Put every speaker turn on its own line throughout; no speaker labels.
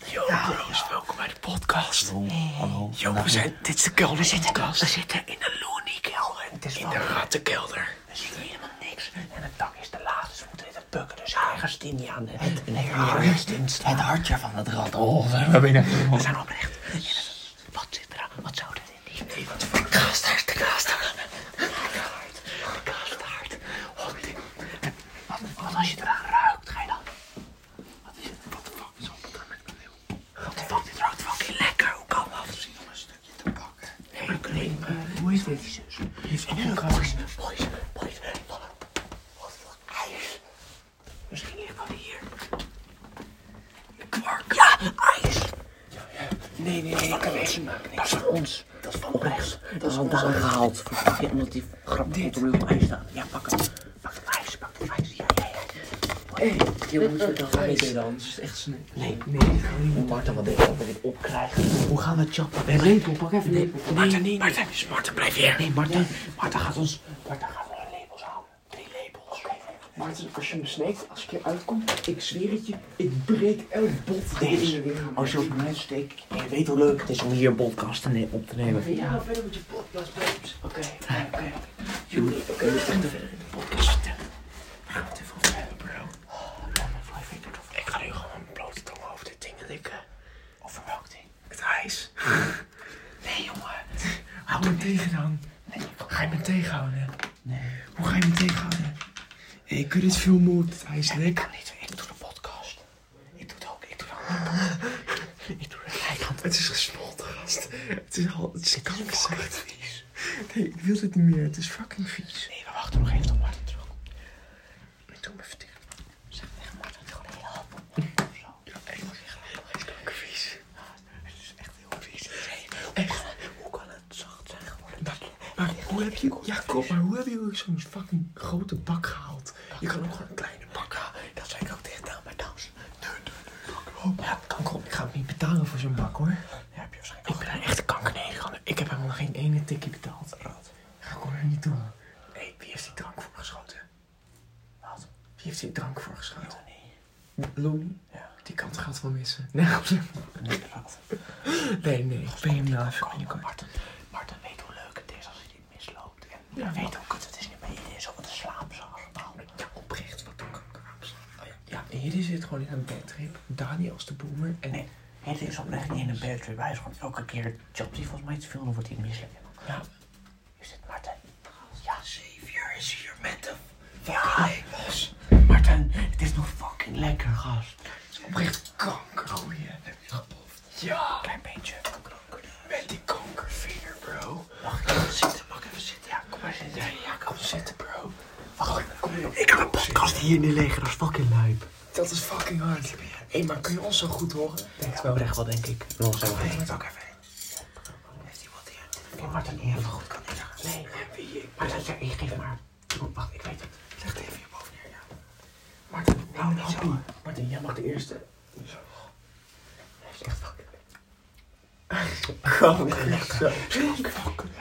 Bros, welkom bij de podcast.
Hallo.
Yo, we zijn, dit is de kelder we zitten, We zitten in de loony kelder. Het is in de rattenkelder.
Er zit helemaal niks. En het dak is te laag, dus we moeten even bukken. Dus ergens in die aan de het, ergens in Het hartje van het rat. Oh, we zijn We zijn oprecht. Wat zit er aan? Wat zou dit in die?
Hey, wat voor kaastaart, de kaastaart. De kaastaart. Oh, dit.
Wat, wat als je eraan ruikt, ga je dan?
Wat is het? Wat de fuck is op met mijn leeuw?
Wat de fuck, dit ruikt fucking lekker. Hoe kan dat?
Misschien om een stukje te pakken.
Nee, maar ik weet niet. Hoe is dit? Jezus. En boys, boys, boys. Wat wat voor ijs. Misschien ligt dat hier. Kwark. Ja, ijs.
Nee, nee, nee, ik kan niks maken.
Dat is van ons.
Dat is van
Oprecht. Dat is vandaan gehaald. Verpakking, omdat die grap niet op het ijs staat. Ja, pak het. Pak het ijs, pak het ijs. Ja, ja, ja. Hé, jongens, we gaan niet dan. dus Het is echt snel. Nee, nee, dat gaan we niet doen. Marten, wat denk je dat we dit opkrijgen? Hoe gaan we het chappen? Nee, lepel, pak even nee, nee, Marten, nee, Marten, dus Marten, blijf hier. Nee, Marten, Marten gaat ons... Marten gaat ons lepels halen. Drie lepels.
Maarten, als je me snijdt, als ik je uitkomt, ik zweer het je, ik breek elk bot
Deze, als je op mij steekt, je weet hoe leuk het is om hier een podcast te ne- op te nemen.
Ja, verder met je podcast, babes. Oké, oké, oké.
Jullie, oké, we gaan verder in de podcast vertellen.
Waar gaan we het even over hebben, bro?
Oh, Ik ga nu gewoon mijn blote tong over dit ding en ik... eh,
Over welk ding?
het ijs.
Nee, jongen. Hou me tegen dan. Ga je me tegenhouden? Nee. Hoe ga je me tegenhouden? Hé, ik kun dit filmen op het ijs,
Ik
Nick.
kan niet, ik doe de podcast. Ik doe het ook, ik doe de andere kant. Ik doe de lijkant.
Het is gesmolten, gast. Het is al... Het is kan ik zeggen.
vies.
Nee, ik wil dit niet meer. Het is fucking vies.
Nee, we wachten nog even tot Martin terugkomt. Ik doe hem even tegen. Zeg tegen Martin, het is gewoon heel hap. Zo. Ik moet zeggen, het is kanker vies. Het is echt heel vies. Nee, hoe kan- Hoe kan het zacht zijn geworden? Dat-
Maar hoe heb je... Ja, kom, maar hoe heb je ook zo'n fucking grote bak gehaald? Je kan ook gewoon een kleine bak halen.
Dat zei ik ook tegen Daan bij Dans. Nee, nee, nee.
Ja, kanker op. Ik ga hem niet betalen voor zo'n bak, hoor.
Ja, heb je waarschijnlijk
Ik
ook.
ben een echte kanker Ik heb helemaal geen ene tikje betaald. Ga ik er niet doen.
Hé, wie heeft die drank voor geschoten? Wat?
Wie heeft hier drank voor geschaald?
Nee.
Lonnie?
Ja.
Die kant gaat wel missen. Nee, grapje.
Nee, wat?
nee, nee. Ik ben hem nou even binnenkort.
Marten, Marten weet hoe leuk het is als hij niet misloopt. En
Ja,
hij weet
maar-
hoe kut het is niet mee is. Of het slaap ze allemaal.
Ja, oprecht, wat ook kan Oh, ja. ja, en jullie zitten gewoon in een bedtrip. Daniel als de boemer en...
Nee, het is oprecht niet in een bed Hij is gewoon elke keer jobs die volgens mij te veel, dan wordt hij misselijk.
Ja,
Is dit Marten? Ja, Xavier is hier met de fucking lepels. Marten, het is nog fucking lekker, gast. Het is oh,
oprecht kanker, goeie. Heb je gepoft? Ja,
een klein beetje kanker. dus.
met die kankervinger, bro.
Mag ik even zitten? Mag ik even zitten? Ja, kom maar zitten.
Ja, kom zitten, bro.
Wacht, kom hier. Ik heb een podcast hier neerleggen, dat is fucking lijp.
Dat is fucking hard. Hé, maar kun je ons zo goed horen? Dat wel recht wel, denk ik.
Nog zo.
Ik het ook even.
Heeft iemand die Nee, Martin, die even goed kan neerleggen. Nee, wie? Martin, zeg, ik geef maar. Oh, Wacht, ik weet het.
Leg het even hierboven neer, ja.
Martin, nou,
nee,
niet
zo.
zo. Martin, jij mag de eerste. Zo. Hij is echt fucking
Hij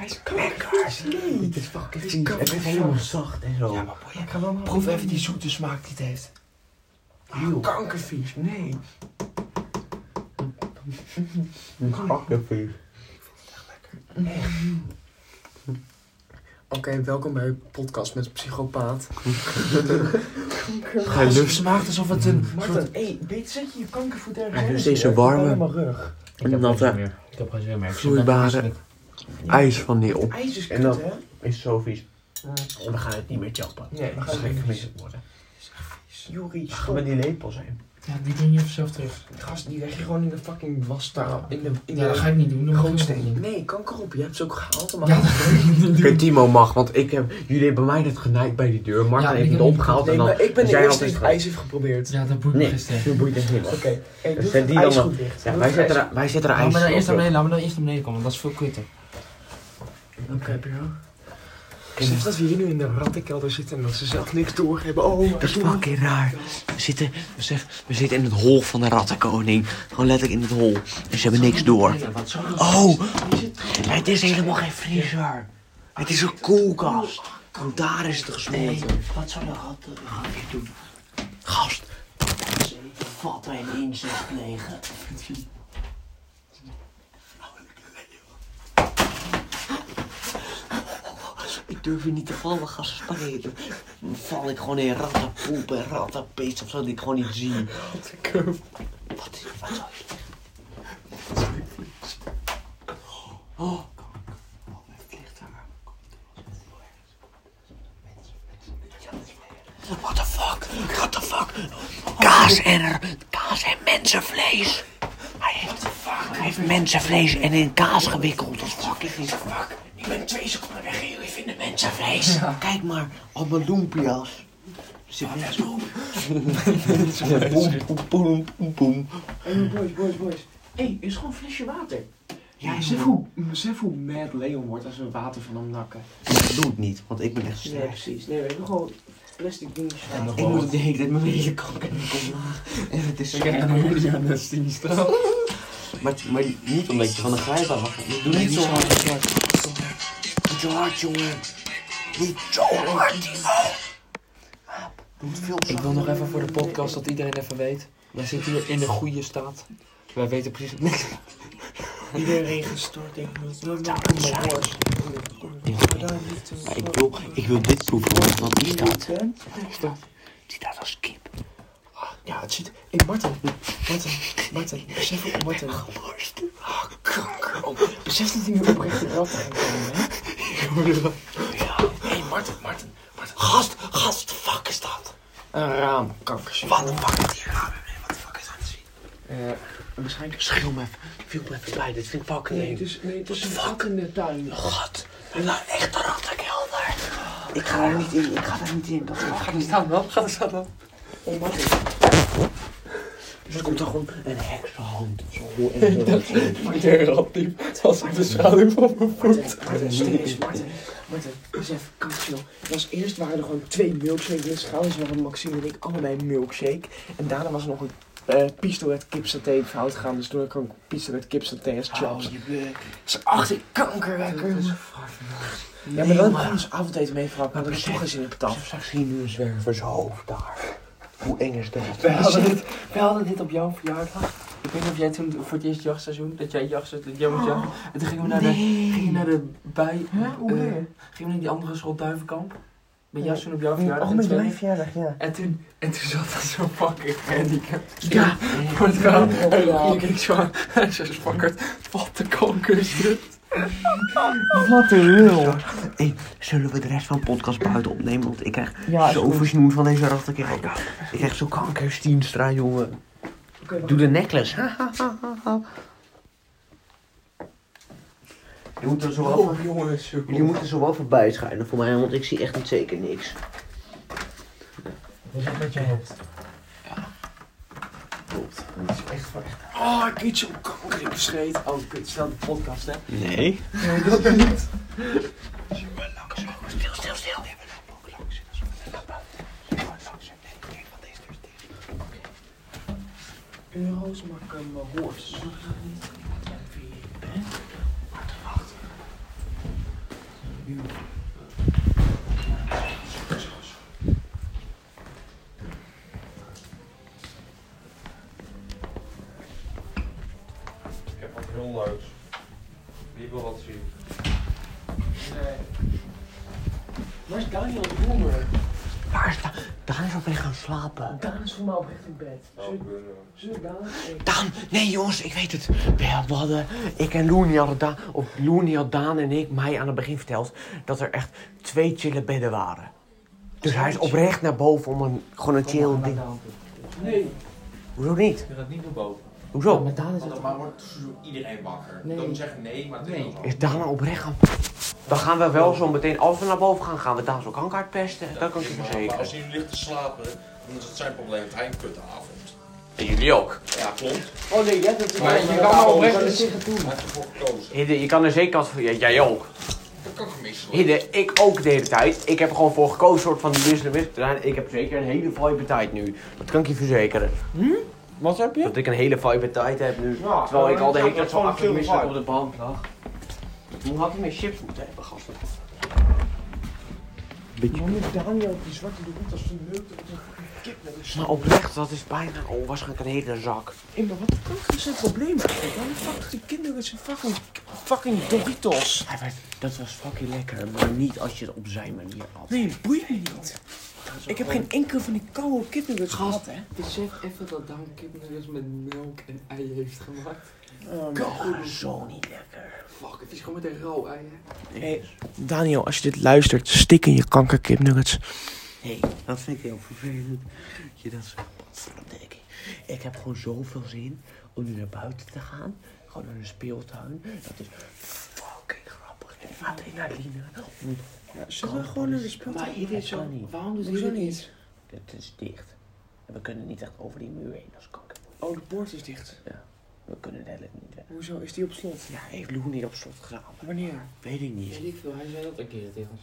is
lekker.
Nee,
Het is fucking
Het is
vies.
kanker.
Het is helemaal zacht en zo.
Ja, maar boy, ik kan wel Proef even die zoete smaak die het heeft.
Eeuw.
Kankervies, nee.
Kankervies.
Oké, welkom bij podcast met psychopaat.
Ga je
Het
lust-
smaakt alsof het een...
Martin,
soort-
hé, beet zet je je kankervoet
Ja,
ergens
dit is
anders
deze
neer. Ik heb
warme-
pijn aan mijn rug.
Ik heb geen zin meer.
Ik heb geen zin meer.
Vloeibare ijs van die op.
dus
IJs is
En
kut,
dan-
hè?
Is zo vies. We gaan het niet meer chappen.
Nee, we
Dat
gaan
gaat
het niet
gemist worden.
Jori,
Dan gaan we die lepel zijn.
Ja, die breng je even zelf terug.
Gast, die leg je gewoon in de fucking wastaal. In de, in
Ja, dat
de
ga ik niet doen. Dan
gootsteen. Nee, kanker op. Je hebt ze ook gehaald, maar...
Ja, dat ga ik niet doen.
Oké, Timo mag, want ik heb, jullie hebben mij net genaaid bij die deur. Martin
Ja,
heeft
ik
het
heb-
opgehaald
nee,
en dan...
maar
dus
ik ben de
jij
eerste die
altijd
het
gelijk.
ijs heeft geprobeerd.
Ja, dat boeit me
Nee,
gisteren.
nu boeit het niet.
Oké, hey, doe
Dus zet
het
die
ijs
dan maar-
goed dicht.
Ja,
Doe
wij
het
zetten
ijs-
er, wij zetten er
Laat
ijs
me dan
op,
eerst naar
joh.
beneden, laat me dan eerst naar beneden komen, want dat is veel kutter.
Oké, bro. Besef dat we hier nu in de rattenkelder zitten en dat ze zelf niks doorhebben. Oh,
Dat is fucking raar. We zitten, besef, we zitten in het hol van de rattenkoning. Gewoon letterlijk in het hol. En ze hebben niks door.
Ja, wat zo
Oh, het is helemaal geen vriezer. Het is een koelkast. Want daar is het gesmolten.
Wat zou de rat de ratje doen?
Gast,
Vatten en insect plegen.
durf je niet te vallen, ga spelen. Dan val ik gewoon in rattenpoep en rattenpis of zo, dat ik gewoon niet zie. Wat is wat zou je Oh, kom, kom, kom, het ligt daar. Kom, kom, kom, kom. What the fuck? What the fuck? Kaas en, er- kaas en mensenvlees. Hij heeft, hij heeft mensenvlees en in kaas gewikkeld. Dat is fucking niet. Fuck. Ik ben twee seconden weg en jullie vinden mensenvlees. Kijk maar, op mijn loempia's. Er zit mensenpoep. Boem, boem, boem, boem, boem.
Hey, boys, boys, boys. Hé, hey, is gewoon een flesje water.
Ja, besef hoe, besef hoe mad Leon wordt als we water van hem nakken.
Maar dat doe ik niet, want ik ben echt
Nee,
sterk.
precies. Nee, we hebben gewoon plastic dingetjes water.
Ik moet het de hele tijd met mijn hele kanker en ik omlaag. En het is zo...
jullie aan de stienstraal.
Maar, maar niet omdat je van de grijp af gaat. Doe niet zo hard. Doe zo hard, jongen. Niet zo hard, Timo. Doe het veel
Ik wil nog even voor de podcast dat iedereen even weet. Wij zitten hier in de goede staat. Wij weten precies.
Iedereen gestort, ik moet
Nou,
nooit meer
Dat is
mijn
waar.
borst.
Maar ik wil, ik wil dit proeven, want wat die staat. Die staat als kip.
Ah, Ja, het ziet... Hé, hey, Martin. Martin. Martin. Besef ook, Martin. Ah,
Geworst.
Kanker. Oh, besef dat hij nu oprecht de rat aan kan, hè?
Hé, hey, Martin, Martin, Martin. Gast, gast, fuck is dat?
Een raam. Kanker.
Wat de fuck is hier aan? Wat de fuck is aan het zien?
Waarschijnlijk...
Schil Eh, me even, viel me even bij, dit vind ik fucking
Nee,
eng.
het is, nee, het is een rat in de tuin.
God, ik lag echt een rattenkelder. Ik ga daar niet in, ik ga daar niet in. Dat gaat niet aan.
Oh, Martin.
Dus Er komt daar gewoon een heksenhand of zo. En dan
Martin, Martin, serieus, Martin. Martin, besef, kan chill. Er Was eerst waren er gewoon twee milkshakes in de schaal. Dus waren Maxime en ik allebei een milkshake. En daarna was er nog een eh pisto uit kipsaté fout gaan. Dus toen had ik ook pisto uit kipsaté als chips.
je bek.
Ze achter kankerwekker. Ja, maar dan gaan ze avondeten mee vragen. Maar dat is toch geen zin in
Of zag je nu een zwervershoofd daar? Hoe eng is dat?
We hadden, dit, we hadden dit op jouw verjaardag. Ik weet niet of jij toen voor het eerst jachtseizoen, dat jij jachtseizoen, dat jij moet jachten. En toen gingen we naar de, gingen naar de bij,
Hè? Hoe
eh,
weer?
gingen we naar die andere school Duivenkamp. Met
Ja.
jou toen op jouw verjaardag
Oh,
in
met
Twente.
mijn verjaardag, ja.
En toen, en toen zat er zo'n fucking handicap.
Ja.
Voor het raam. En dan keek ik zo aan. En ze spakkert. Wat de kanker is dit?
Wat een lul.
Zullen we de rest van de podcast buiten opnemen? Want ik krijg
Ja,
zo verzoen van deze
Oh
rattenkelder. Ik krijg zo kankerstienstra, jongen. Doe de necklace. Ha, ha, ha, ha, ha. Je moet er zo
Oh.
wel voor-
jongens.
Jullie moeten zo wel voorbij schuinen voor mij, want ik zie echt niet zeker niks.
Wat is het met je hoofd?
Klopt.
Echt van echt. Oh, ik eet zo'n kanker in mijn scheet. Oh, kut, snel de podcast, hè.
Nee.
Nee, dat niet.
Stil, stil, stil.
Euro's maken mijn horse.
Ik heb wat heel leuks. Wie wil dat zien?
Waar is Daniel de Boemer?
Waar is Daan? Daan is alweer gaan slapen.
Daan is voor mij oprecht in bed.
Nou, ik ben, eh,
Zullen Daan?
Daan, nee jongens, ik weet het. We we hadden, ik en Loenie hadden Daan, of Loenie had Daan en ik mij aan het begin verteld dat er echt twee chille bedden waren. Dus hij is oprecht naar boven om een, gewoon een chill ding.
Nee.
Hoezo niet?
Je gaat niet naar boven.
Hoezo?
Maar Daan is
Want dan wordt zo iedereen wakker.
Nee.
Dan zeg ik nee, maar het is
Nee.
wel
Is Daan nou oprecht gaan? Dan gaan we wel zo meteen, als we naar boven gaan, gaan we Daan zo kanker uitpesten. Dat kan ik je
Maar- Maar
verzekeren.
als hij ligt te slapen, dan is het zijn probleem. want Hij heeft een kutte avond. En jullie ook. Ja, klopt.
Oh nee, jij bent
Maar je kan wel oprecht-
er tegen doen.
Hij heeft ervoor gekozen.
Hidde, je kan er zeker wat van. Ja, jij ook.
Dat kan gemist worden.
Hidde, ik ook de hele tijd. Ik heb er gewoon voor gekozen, soort van die business te zijn. Ik heb zeker een hele vibe tijd nu. Dat kan ik je verzekeren.
Wat heb je?
Dat ik een hele vibe tijd heb nu.
Ja,
terwijl ik
ja,
al de hele tijd
ja, dat
zo
is gewoon
achter
een chille
misselijk op de band lag. Hoe had ik meer chips moeten hebben, gasten?
Man, met Daniel op die zwarte doek, dat is vermeukt.
kip met een
Maar Nou, oprecht, dat is bijna oh, waarschijnlijk een hele zak.
Hey, maar wat wat is het probleem eigenlijk? Waarom fuck die kinderen zijn fucking, fucking Doritos?
Hij werd, dat was fucking lekker, maar niet als je het op zijn manier had.
Nee, het boeit me niet. Ik heb geen enkele van die koude kipnuggets gehad, hè?
Besef even dat Daan kipnuggets met melk en ei heeft gemaakt.
Oh,
Oh, zo niet lekker.
Fuck, het is gewoon met een rauw ei, hè?
Hey, Daniel, als je dit luistert, stik in je kankerkipnuggets.
Nee, dat vind ik heel vervelend. Je dat zegt, "Potverdikke." Ik heb gewoon zoveel zin om nu naar buiten te gaan. Gewoon naar een speeltuin. Dat is fucking grappig. En adrenaline.
Zullen we gewoon naar de speeltuin?
Maar iedereen
het kan
zo,
niet.
waarom doet
Hoezo
iedereen
niet?
Het is dicht. En we kunnen niet echt over die muur heen, dat is kanker.
Oh, de poort is dicht.
We kunnen eigenlijk niet weg.
Hoezo? Is die op slot?
Ja, heeft Lou niet op slot gedaan?
Wanneer?
Weet ik niet.
Weet ik veel, hij zei dat
een keer tegen ons.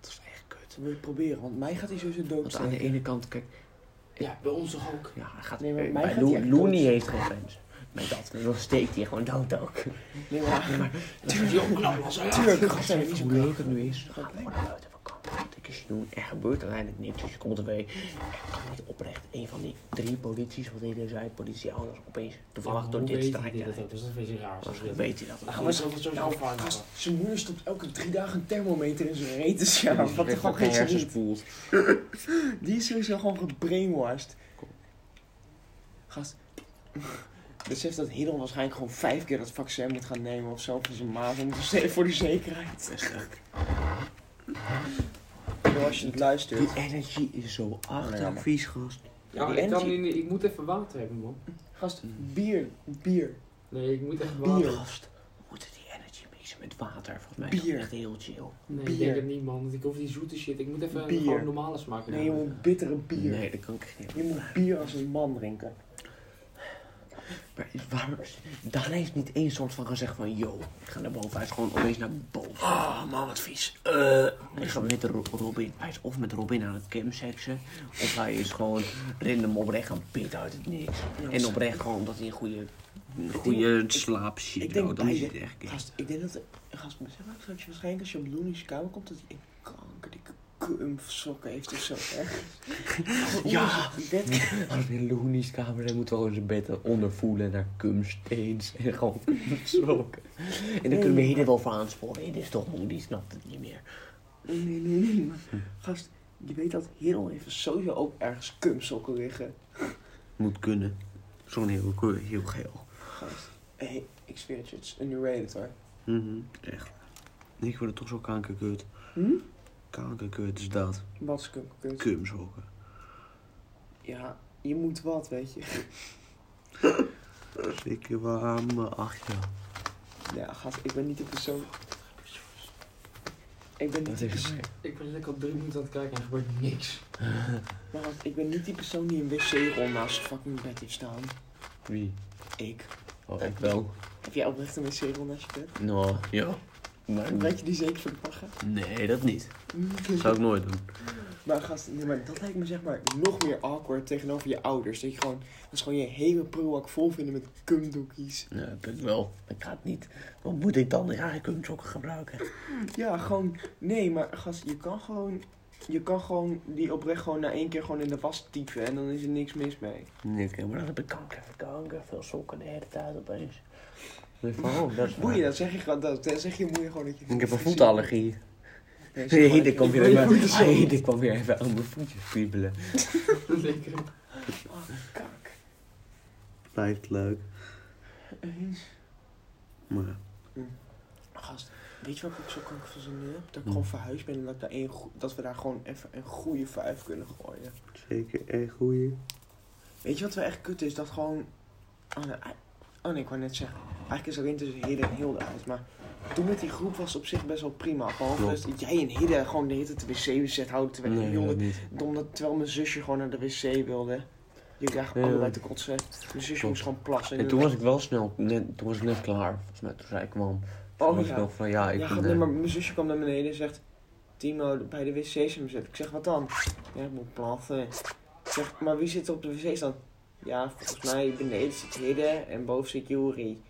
Dat is echt kut.
Wil je het proberen? Want mij gaat hij sowieso
Want aan de
doodsteken.
ene kant, kijk,
Ja, bij ons toch ook.
ja, hij gaat
Nee,
nee,
maar
bij
mij gaat
Lou-
hij echt
Lou
dood.
niet heeft geen grens. Met dat, dus dan steekt hij gewoon dood ook.
Nee, maar...
Yo, knap, was hij
Tuurlijk, gast, hij is
Hoe
ook
leuk het nu is, ga gewoon naar buiten vakantie. Wat ik doen, er gebeurt uiteindelijk niks. Dus je komt erbij. Ik kan niet oprecht een van die drie polities, wat hele zei, politiehouders, opeens toevallig door dit straatje.
Dat
rijden.
is een beetje raar. als
Waarschijnlijk
dit-
weet hij dat.
Gaan we zo van zo'n
Nou,
afhangen.
gast, zijn moeder stopt elke drie dagen een thermometer in zijn reet. Dus ja, wat de fuck heeft ze niet?
hersenspoeld.
Die is sowieso gewoon gebrainwashed. Gast, besef dat Hiddel waarschijnlijk gewoon vijf keer dat vaccin moet gaan nemen of zo van zijn maat. Om te ze- voor die zekerheid. Hiddel, als je het luistert.
Die energy is zo achterlijk
jammer.
vies, gast.
Ja, maar
Die
ik, kan
energy-
nu niet- ik moet even water hebben, man.
Gast, bier, bier.
Nee, ik moet echt
Bier.
water.
Gast, we moeten die energy mixen met water. Volgens mij is
Bier.
dat echt heel chill.
Nee,
Bier.
ik denk het niet, man. Want ik hoef die zoete shit. Ik moet even
Bier.
gewoon normale smaak
Nee, je moet bittere bier.
Nee, dat kan ik echt niet.
Je moet bier als een man drinken.
Maar is- waarom is... Daarna heeft niet één soort van gezegd van... Yo, ik ga naar boven. Hij is gewoon opeens naar boven.
Oh man, wat vies.
Eh, Hij gaat met Ro- Robin, hij is of met Robin aan het chemsexen, of hij is gewoon random oprecht aan pit uit het niks. En oprecht gewoon omdat hij een goede, een goede slaap ziet.
ik denk
nou, dan is
beide.
het echt gek.
Gast, ik denk dat... Gast, maar zeg maar, straks waarschijnlijk als je op Looney's kamer komt, dat hij een kankerdikke kumf sokken heeft of zo, hè?
Ja.
Die bed-
Als we in Loenies kamer zijn, moeten we gewoon zijn bed ondervoelen naar kumsteens en gewoon kumstroken. En dan kunnen we Hidden wel voor aansporen. Hidden is toch moe, die snapt het niet meer.
Nee, nee, nee, nee, maar gast, je weet dat Hiddel heeft sowieso ook ergens kumsokken liggen.
Moet kunnen. Zo'n heel, kleur, heel geel.
Gast, hé, hey, ik zweer het je, het is underrated hoor.
Mhm, echt. Ik word er toch zo kankerkut.
Hm?
Kankerkut is dat.
Wat is kumkunst?
Kumshokken.
Ja, je moet wat, weet je.
Ik warm acht jaar.
Ja, gast, ik ben niet de persoon... Ik ben niet de persoon...
Ik ben lekker al drie minuten aan het kijken en er gebeurt niks.
Maar gast, ik ben niet die persoon die een wc-rol naast zijn fucking bed heeft staan.
Wie?
Ik.
Oh, ik wel.
Heb jij oprecht een wc-rol naast je bed?
Nou, ja. Maar
Gebruik je die zeker voor de bagger?
nee, dat niet. Dat zou ik nooit doen.
Maar gast, nee, maar dat lijkt me zeg maar nog meer awkward tegenover je ouders. Dat je gewoon, dat is gewoon je hele prullenbak vol vinden met kumdoekies.
Nee, dat ik wel. Dat gaat niet. Wat moet ik dan? Ja, ik kan sokken gebruiken.
Ja, gewoon, nee, maar gast, je kan gewoon, je kan gewoon die oprecht gewoon na één keer gewoon in de was typen en dan is er niks mis mee.
Nee, oké, maar dan heb ik kanker. Kanker, veel sokken de hele tijd opeens. Nee, van, oh, dat is waar.
Boeien, dan zeg je gewoon, dat, dan zeg je moeie gewoon dat je...
Ik heb een voetallergie.
Nee, zeg
Hé,
gewoon
dit
dat
kwam
je-
weer even, hey, dit kwam weer even aan mijn voetjes kriebelen.
Lekker.
Kak.
Blijft leuk. Maar
Mhm. Gast, weet je waar ik ook zo kanker van zin in heb?
Mhm.
Dat ik gewoon verhuisd ben en dat, ik daar één go- dat we daar gewoon even een goede vuif kunnen gooien.
zeker echt goeie.
Weet je wat wel echt kut is? Dat gewoon... Oh nee, ei- oh, nee ik wou net zeggen. Eigenlijk is alleen tussen Hidde en Hilde uit. Maar toen met die groep was het op zich best wel prima. Behalve
Klopt.
dat jij en Hidde gewoon de hele tijd de wc bezet houden. Terwijl,
Nee,
Hilde,
dat niet.
omdat, terwijl mijn zusje gewoon naar de wc wilde. Jullie krijgen
Ja.
allebei te kotsen. Mijn zusje moest gewoon plassen.
En toen was ik wel snel, net, toen was ik net klaar. Volgens mij toen zei ik kwam. Toen
Oh
was ik
ja.
nog van ja, ik
ja,
ben,
gaat- nee,
eh,
maar mijn zusje kwam naar beneden en zegt... Timo, bij de wc is hem zit. Ik zeg, wat dan? Ja, ik moet plassen. Ik zeg, maar wie zit er op de wc's dan? Ja, volgens mij beneden zit Hidde en boven zit Juri.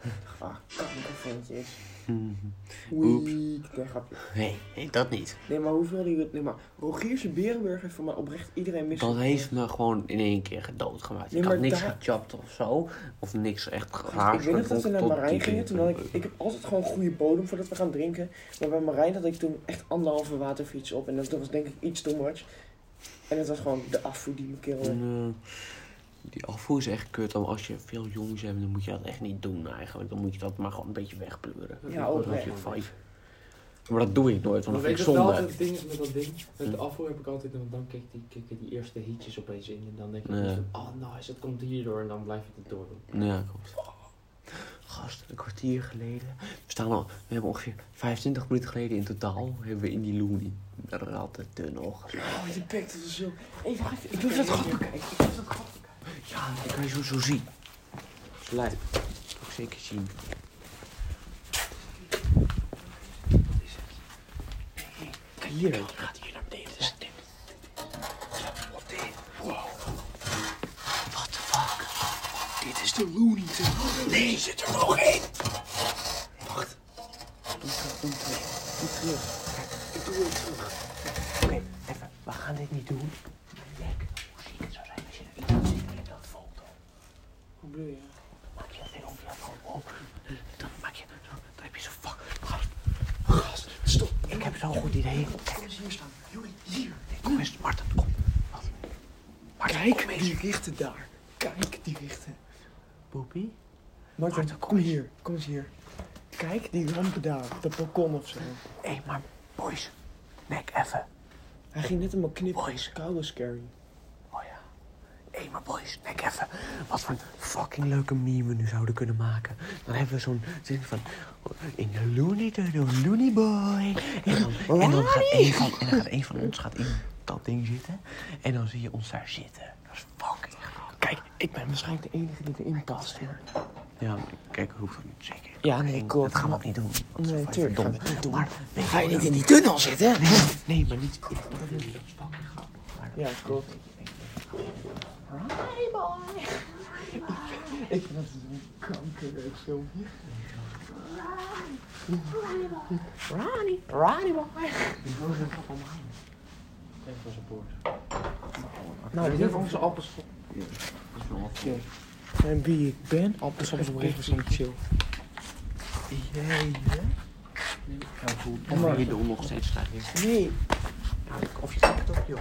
Ah, kakkervondjes.
Mhm.
Oei, nee, grapje.
Nee, nee, dat niet.
Nee, maar hoeveel die het... Nee, maar Rogierse Berenburg heeft voor mij oprecht iedereen mis.
Dat heeft me gewoon in één keer doodgemaakt.
Nee,
ik had
maar
niks
daar-
gechapt of zo. Of niks echt
Ik
raars.
weet
maar
nog dat we
vond
naar
het
Marijn
tot die
gingen. Toen had ik,
keer-
ik heb altijd gewoon goede bodem voordat we gaan drinken. Maar bij Marijn had ik toen echt anderhalve waterfiets op. En dat was denk ik iets too much. En het was gewoon de afvoer die me kilde.
En, eh, die afvoer is echt kut. want Als je veel jongens hebt, dan moet je dat echt niet doen eigenlijk. Dan moet je dat maar gewoon een beetje wegpleuren.
Ja,
Dan heb
oprecht.
je vijf. Maar dat doe ik nooit, want
Maar
dat vind
weet
ik
je wat wel
zonde. Hm.
altijd het ding is met dat ding? Met de afvoer heb ik altijd, want dan kijk die, kikken die eerste hitjes opeens in. En dan denk ik,
Ja.
van, oh nice, dat komt hierdoor. En dan blijf ik het door doen.
Ja, klopt. Gast, een kwartier geleden. We, staan al, we hebben ongeveer 25 minuten geleden in totaal. Hebben we in die Looney rattentunnel geslapen.
Oh, die pik, dat is zo...
Hey, wacht even.
Ik wil dat gat
bekijken. Ik wil dat gat bekijken.
Ja, dat kan je zo, zo zien. Slijp. Dat kan ik zeker zien. Kijk hier. Kijk, die gaat hier naar beneden. Dat is dit. Wat dit? Wow. What the fuck? Dit is de Looney Tunnel. Nee, er zit er nog één. Wacht. Doe terug, doe terug. Doe terug. Kijk, ik doe het terug. Oké, even. We gaan dit niet doen. Lek, hoe ziek het zou zijn als je er iets aan ziet in dat foto.
Hoe bedoel je? Oh.
Maak je een filmpje van op. Dan maak je, zo, dan heb je zo'n fuck. Gast, gast, stop. Ik heb zo'n goed idee. Kijk eens hier staan. Jullie, hier. Nee, kom eens, Marten, kom. Wat? Marten, kom eens.
Die richten daar. Kijk, die richten.
Poepie?
Martin,
Martin, kom
kom hier. Kom eens hier. Kijk, die lampen daar. Dat balkon of zo.
Hé, maar boys. Nek, even.
Hij ging net helemaal
Mooi.
knippen. Koude scary.
Oh ja. Hé, maar boys, nek even. Wat voor een fucking leuke meme we nu zouden kunnen maken. Dan hebben we zo'n zin van... In de Looney Tunnel, Looney Boy. En dan, en dan, gaat, een van, en dan gaat een van ons gaat in dat ding zitten. En dan zie je ons daar zitten. Dat is fucking grappig. Kijk, ik ben waarschijnlijk de enige die erin past. hè. Ja, maar kijk, hoeft dat niet zeker.
Ja, nee, klopt.
Oh, Dat gaan we ook niet doen. want
Nee,
dat is
tuurlijk gaan we
verdomd.
het niet doen.
Maar, nee,
Ga je niet in die tunnel zitten?
nee, maar niet. Dat is fucking grappig. Maar
Ja, klopt. Nou, dit
Even onze appels.
En wie ik ben, appels soms op rechts zijn chill.
dan ben je de nog steeds staan.
Nee,
Of je gaat het op, joh.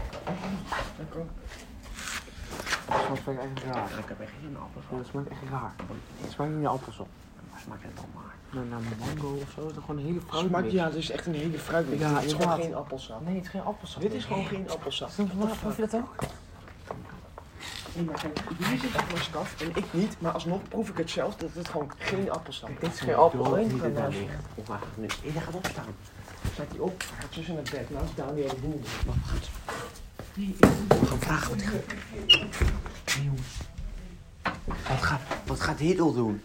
Dat smaakt echt raar.
Ik heb echt geen appels.
Ja, Dat smaakt echt raar. Het smaakt niet naar appels op.
Waar smaakt het dan maar?
Naar, naar mango of zo. Het is gewoon een hele fruit.
smaakt, ja, het is echt een hele fruitmix.
Ja,
Ja, het is gewoon
inderdaad.
geen appelsap.
Nee, het is geen appelsap.
Dit is gewoon geen appelsap.
Proef je dat ook?
Nee, maar kijk, jullie zitten op mijn staf en ik niet, maar alsnog proef ik het zelf dat het gewoon geen appelsap is.
Dit is geen appel.
Doe
hè?
niet in daar liggen. Of waar gaat het nu? Hij gaat opstaan.
Staat die op, gaat tussen het bed, naast Daniel de Boer.
We gaan vragen wat hij gaat. Nee, jongens. Wat gaat, wat gaat Hiddel doen?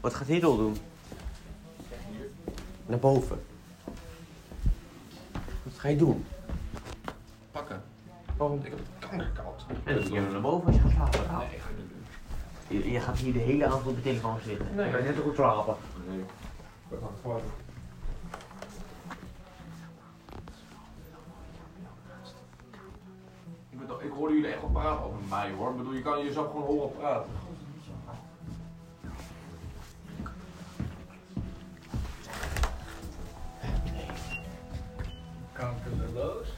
Wat gaat Hiddel doen? Naar boven. Wat ga je doen?
Pakken.
Waarom?
Ik heb het kanker koud.
En dan naar boven als je gaat slapen. Je, je gaat hier de hele avond op de telefoon zitten. Nee. Je gaat net ook slapen.
Nee. We gaan gewoon. Ik, bedoel, ik hoorde jullie echt wel praten over mij hoor. Ik bedoel, je kan jezelf gewoon horen praten. Kankerloos.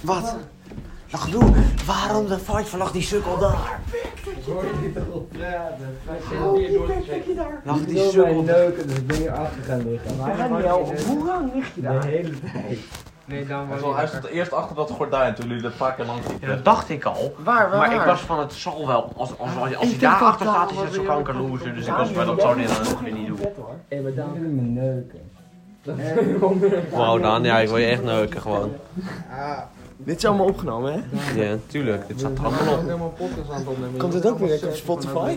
Wat? Lach doe, waarom de fight vannacht die sukkel daar?
Oh,
Lach die sukkel daar.
hoe lang lig je daar?
Nee, dan
Hij stond- Hij stond eerst achter dat gordijn toen jullie dat vaak en lang
Ja,
lieten.
dat dacht ik al.
Waar, waar,
Maar ik
waar?
was van het zal wel. Als, als, als, als hij
denk
daar
dat
achter staat,
daar
is het zo
wel
kankerloser. Dus ik was bij dat zo niet aan het niet doen. Wow, dan ja, ik wil je echt neuken gewoon.
Dit is allemaal opgenomen, hè?
Ja, tuurlijk. Dit staat allemaal op.
helemaal podcast aan het opnemen.
Komt het ook weer op Spotify?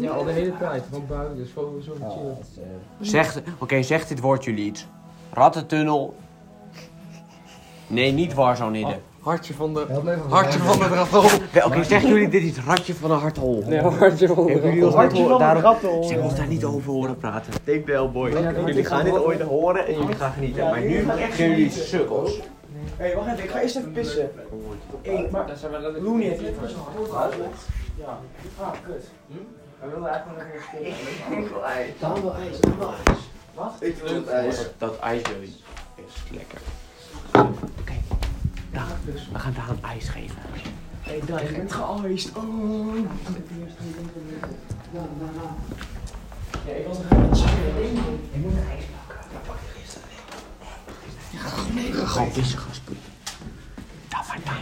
Ja, dus
Ah.
al de hele tijd. Want buiten is sowieso een chill.
Zeg, oké, zeg dit woord jullie iets. Rattentunnel. Nee, niet Warzone Hidden.
Oh, Hartje van de...
Help me even.
Hartje van de raton.
Welke zeggen jullie dit is? Ratje van een harthol.
Nee, hartje van de
Hebben jullie ons
raton.
niet horen? Daarom...
ratten.
Ze mochten daar niet over horen praten. Take the boy. Jullie gaan dit ooit horen en jullie gaan genieten. maar nu zijn jullie sukkels.
Hé, hey, wacht even, ik ga eerst even pissen. Hé, maar Looney heeft het voor zijn hart Ja. Ah, kut. Hij wilde eigenlijk nog een keer Ik wil ijs. Dan wil ijs, dan wil ijs. Wat? Ik wil ijs.
Dat ijsje is lekker. Oké, Daan, we gaan Daan ijs geven.
Hé, hey, Dai, ik ben geëist. Oh. Ja, ik was nog aan het chillen.
Gewoon vissen gaan spoelen. Daar maar Daan.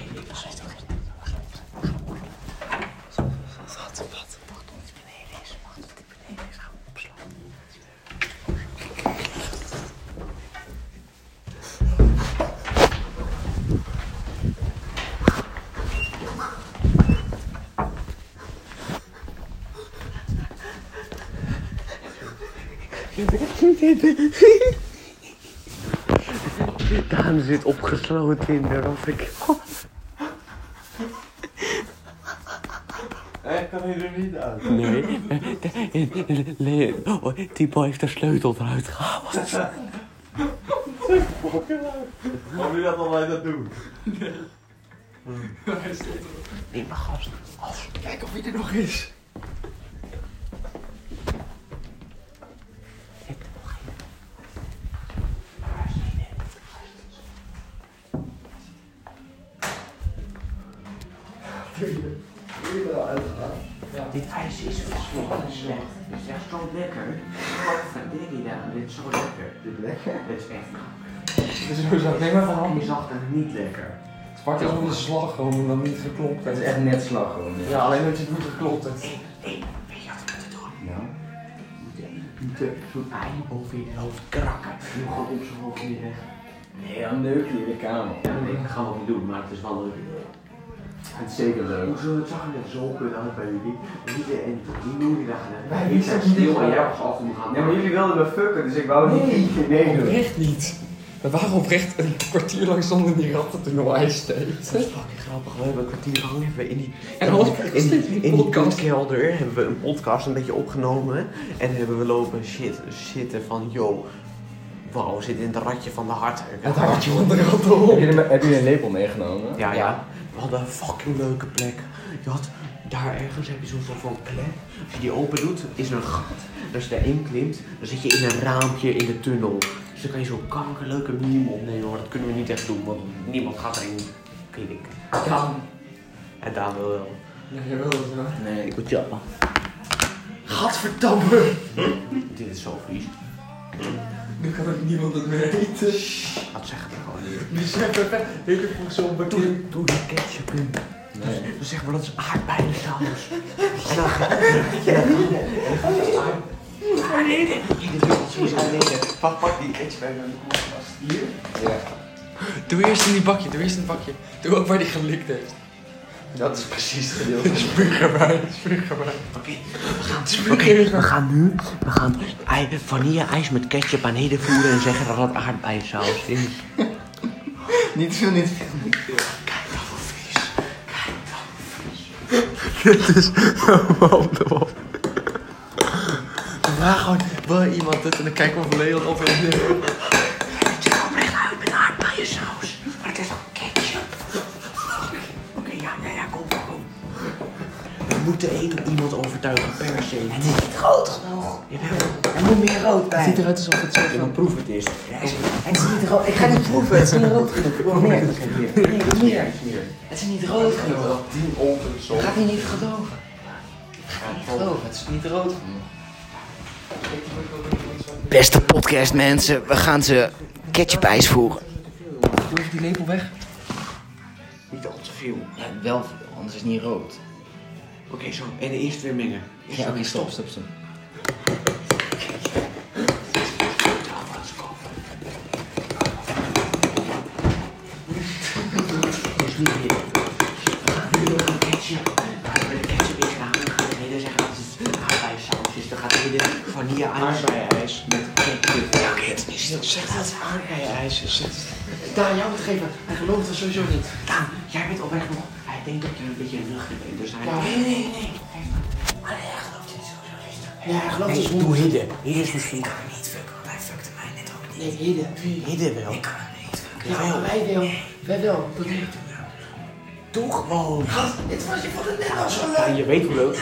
Daan zit opgesloten in de rafik. Ik kan hier niet uit. Nee. Oh, Tipo heeft de sleutel eruit gehaald.
Waarom je dat alleen dat doen?
Nee, maar gast.
Kijk of hij er nog is.
Dit ijs is verschrikkelijk slecht. Het is echt zo lekker. Wat denk je daar? Dit is zo lekker. Dit is lekker? Dit is echt
Het is sowieso neem maar van
Het
handen.
is altijd niet lekker.
Het zwart is van de slagroom en dan niet geklopt.
Het is echt net slagroom. dit.
Ja, alleen dat je het niet geklopt hebt.
Weet je wat we moeten doen?
Nou.
We moeten- we moeten zo'n ei boven je hoofd krakken. Nu gewoon op zijn hoofd weer weg.
Nee, dan neuk je in de kamer.
Ja, nee, dat gaan we ook niet doen, maar het is wel leuk.
Het is zeker leuk.
Hoezo het zag er net zo kut uit bij jullie? Jullie en die jullie dachten,
Wij
ik
zijn
zijn stil
stil,
en
ja.
jij was af en gaan.
Ja, maar jullie wilden me fucken, dus ik wou niet niet je meedoen.
Oprecht niet. We waren oprecht een kwartier lang zonder die ratten toen al ijs steekt.
fucking grappig. We hebben een kwartier lang hebben we in die,
En alles
in
steeds
die,
die
in die
podcast.
kutkelder hebben we een podcast een beetje opgenomen. En hebben we lopen shit, zitten van, yo, wauw, we zitten in het ratje van de hart.
Het hartje van de ratten.
Heb je een lepel meegenomen?
Ja, ja. We hadden een fucking leuke plek. Je had daar ergens heb je zo'n soort van klep. Als je die open doet, is er een gat. En als je daarin klimt, dan zit je in een raampje in de tunnel. Dus dan kan je zo'n kankerleuke meme opnemen. Maar dat kunnen we niet echt doen, want niemand gaat erin klimmen.
Ja.
En daar wil wel.
Nee, wel zo.
Nee.
Goed jappen.
Gadverdamme.
Dit is zo vies.
Nu kan ook niemand het meer eten.
Wat zeggen we gewoon hier?
Die zijn perfect. Heel erg voor zo'n bakje.
Doe de ketchup in.
Nee.
Dan zeg maar dat is aardbeiensaus. en dan ga je... Pak, pak die ketchup uit mijn koelkast. Hier?
Doe eerst in die bakje, doe eerst in het bakje. Doe ook waar die gelikt heeft.
Dat is precies het gedeelte.
Dat is burgerbij, dat is burgerbij.
Oké, we gaan nu we gaan ei, vanille-ijs met ketchup aan heden voeren en zeggen dat het aardbeiensaus is.
Niet veel, niet veel.
Vraag gewoon wel iemand dit en dan kijken we of Leon of
Het ziet er oprecht uit met aardbeiensaus, maar het is ook ketchup. Oké, ja, ja, ja, kom, kom. We moeten één iemand overtuigen per se. Het is niet groot genoeg.
Er moet meer rood bij.
ziet eruit alsof het zo
dan proef het eerst.
Het is niet rood. Ik ga niet proeven. Het is niet rood genoeg. Ik wil meer. Nee, ik wil meer. Het is niet rood genoeg.
Tien ogen zo.
Het gaat hier niet gedogen. Oh, het is niet rood
Beste podcast mensen, we gaan ze ketchup ijs voeren.
Doe even die lepel weg.
Niet al te veel.
Ja, wel veel, anders is het niet rood.
Oké, zo. En eerst weer mengen. Eerst weer mengen.
stop, stop.
Dus niet meer. We gaan nu nog een ketchup. We gaan de ketchup in gaan. We gaan de hele zeggen dat het aardbeiensaus is. Dan gaat de hele vanille ijs. Aardbeienijs. Met ketchup.
Zeg dat aardbeienijsje. Daan, jou moet geven. Hij gelooft het sowieso niet. Daan, Ah, jij bent al weg nog. Hij denkt dat je een beetje een luchtje bent. Dus hij... Nee, nee, nee. Maar hij gelooft het sowieso niet. Ja, hij gelooft het sowieso
Doe hidden. Hier is misschien.
Nee, Hidden.
Hidden wel.
Ja, maar wij wel. Wij wel. Dat
Doe gewoon.
Dit was je van de net als
Ja, je weet hoe leuk.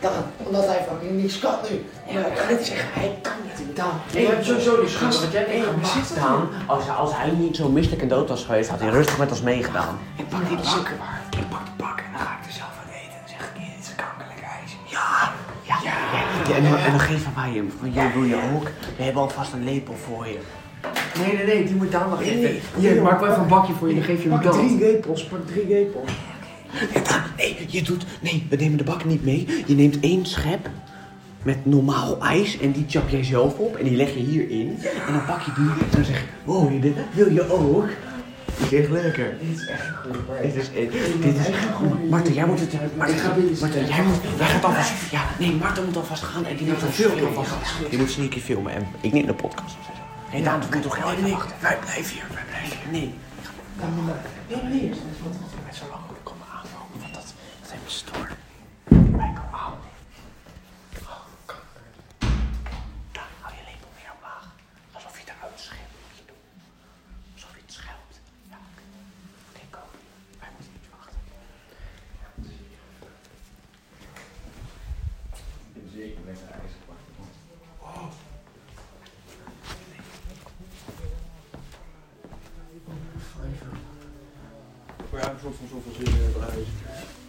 Dan, omdat hij fucking niks kan nu. Maar ik kan het zeggen, hij kan niet. Dan, nee,
hebt sowieso die schuld,
Gast,
want jij hebt
nee,
geen
maar
macht.
zit er
Daan, als, als hij niet zo misselijk en dood was geweest, had hij rustig met ons meegedaan.
Ik pak die bakken. Ik pak die bakken en dan ga ik er zelf aan eten. Dan zeg ik, dit is een kankerlijk ijs. Ja. Ja.
Ja, en, dan- en dan geven wij hem. Want jij wil je ook. We hebben alvast een lepel voor je.
Nee, nee, nee, die moet Daan wel geven. Hier, maak wel even een bakje voor je, dan geef je hem dat.
lepels, pak drie lepels.
Ja, Daan, nee, je doet... Nee, we nemen de bak niet mee. Je neemt één schep met normaal ijs en die chap jij zelf op. En die leg je hierin. En dan pak je die en dan zeg je... Wow, dit wil je ook? Dit is echt lekker. Dit is echt goed. Dit is echt goed. Marten, jij moet het... Marten, Marten, jij moet... Wij gaan alvast... Ja, nee, Marten moet alvast gaan en die moet een filmpje alvast. Je moet sneaky filmen en ik neem de podcast. Hé, hey, Daan, we moeten toch heel even wachten. Wij blijven hier, wij blijven hier. Nee. Met zo lang ik komen aankomen, want dat, dat heeft me stoor. Wij komen aan. Oh, kanker. Daar hou je lepel weer omlaag. Alsof je eruit schept, moet je doen. Alsof je het schelpt. Ja. Oké, kom. Wij moeten niet wachten.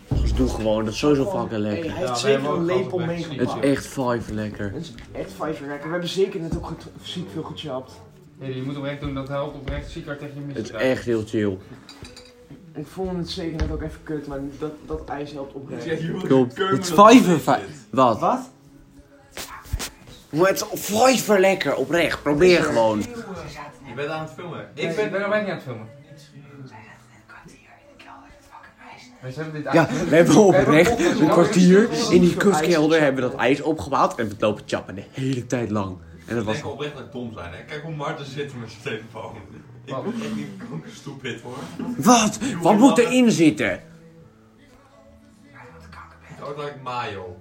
Dus doe gewoon, dat is sowieso fucking
Hey,
lekker.
hij heeft zeker een lepel meegemaakt.
Het is echt five lekker.
Het is echt vijf jaar lekker. We hebben zeker net ook
Oh,
goed, ziek veel gechapt.
Nee, je moet oprecht doen, dat helpt oprecht. Ziekert tegen je
Het is
misdaad.
echt heel chill.
Ik vond het zeker net ook even kut, maar dat, dat ijs helpt oprecht.
Klopt. Het is vijver Wat?
Wat?
Maar het is vijver lekker, oprecht. Probeer gewoon.
Je bent aan het filmen.
Ik ben, ben nog niet aan het filmen. Wij zetten dit
Ja,
aan.
we hebben oprecht een kwartier in die kutkelder hebben we dat ijs opgehaald en we lopen chappen de hele tijd lang. En dat
Ik
was...
denk oprecht dat ik dom zijn, hè. Kijk hoe Marten zit met zijn telefoon. Ik
Wat?
ben echt niet kanker stupid, hoor.
Wat? Wat moet erin zitten?
Ik ook like mayo.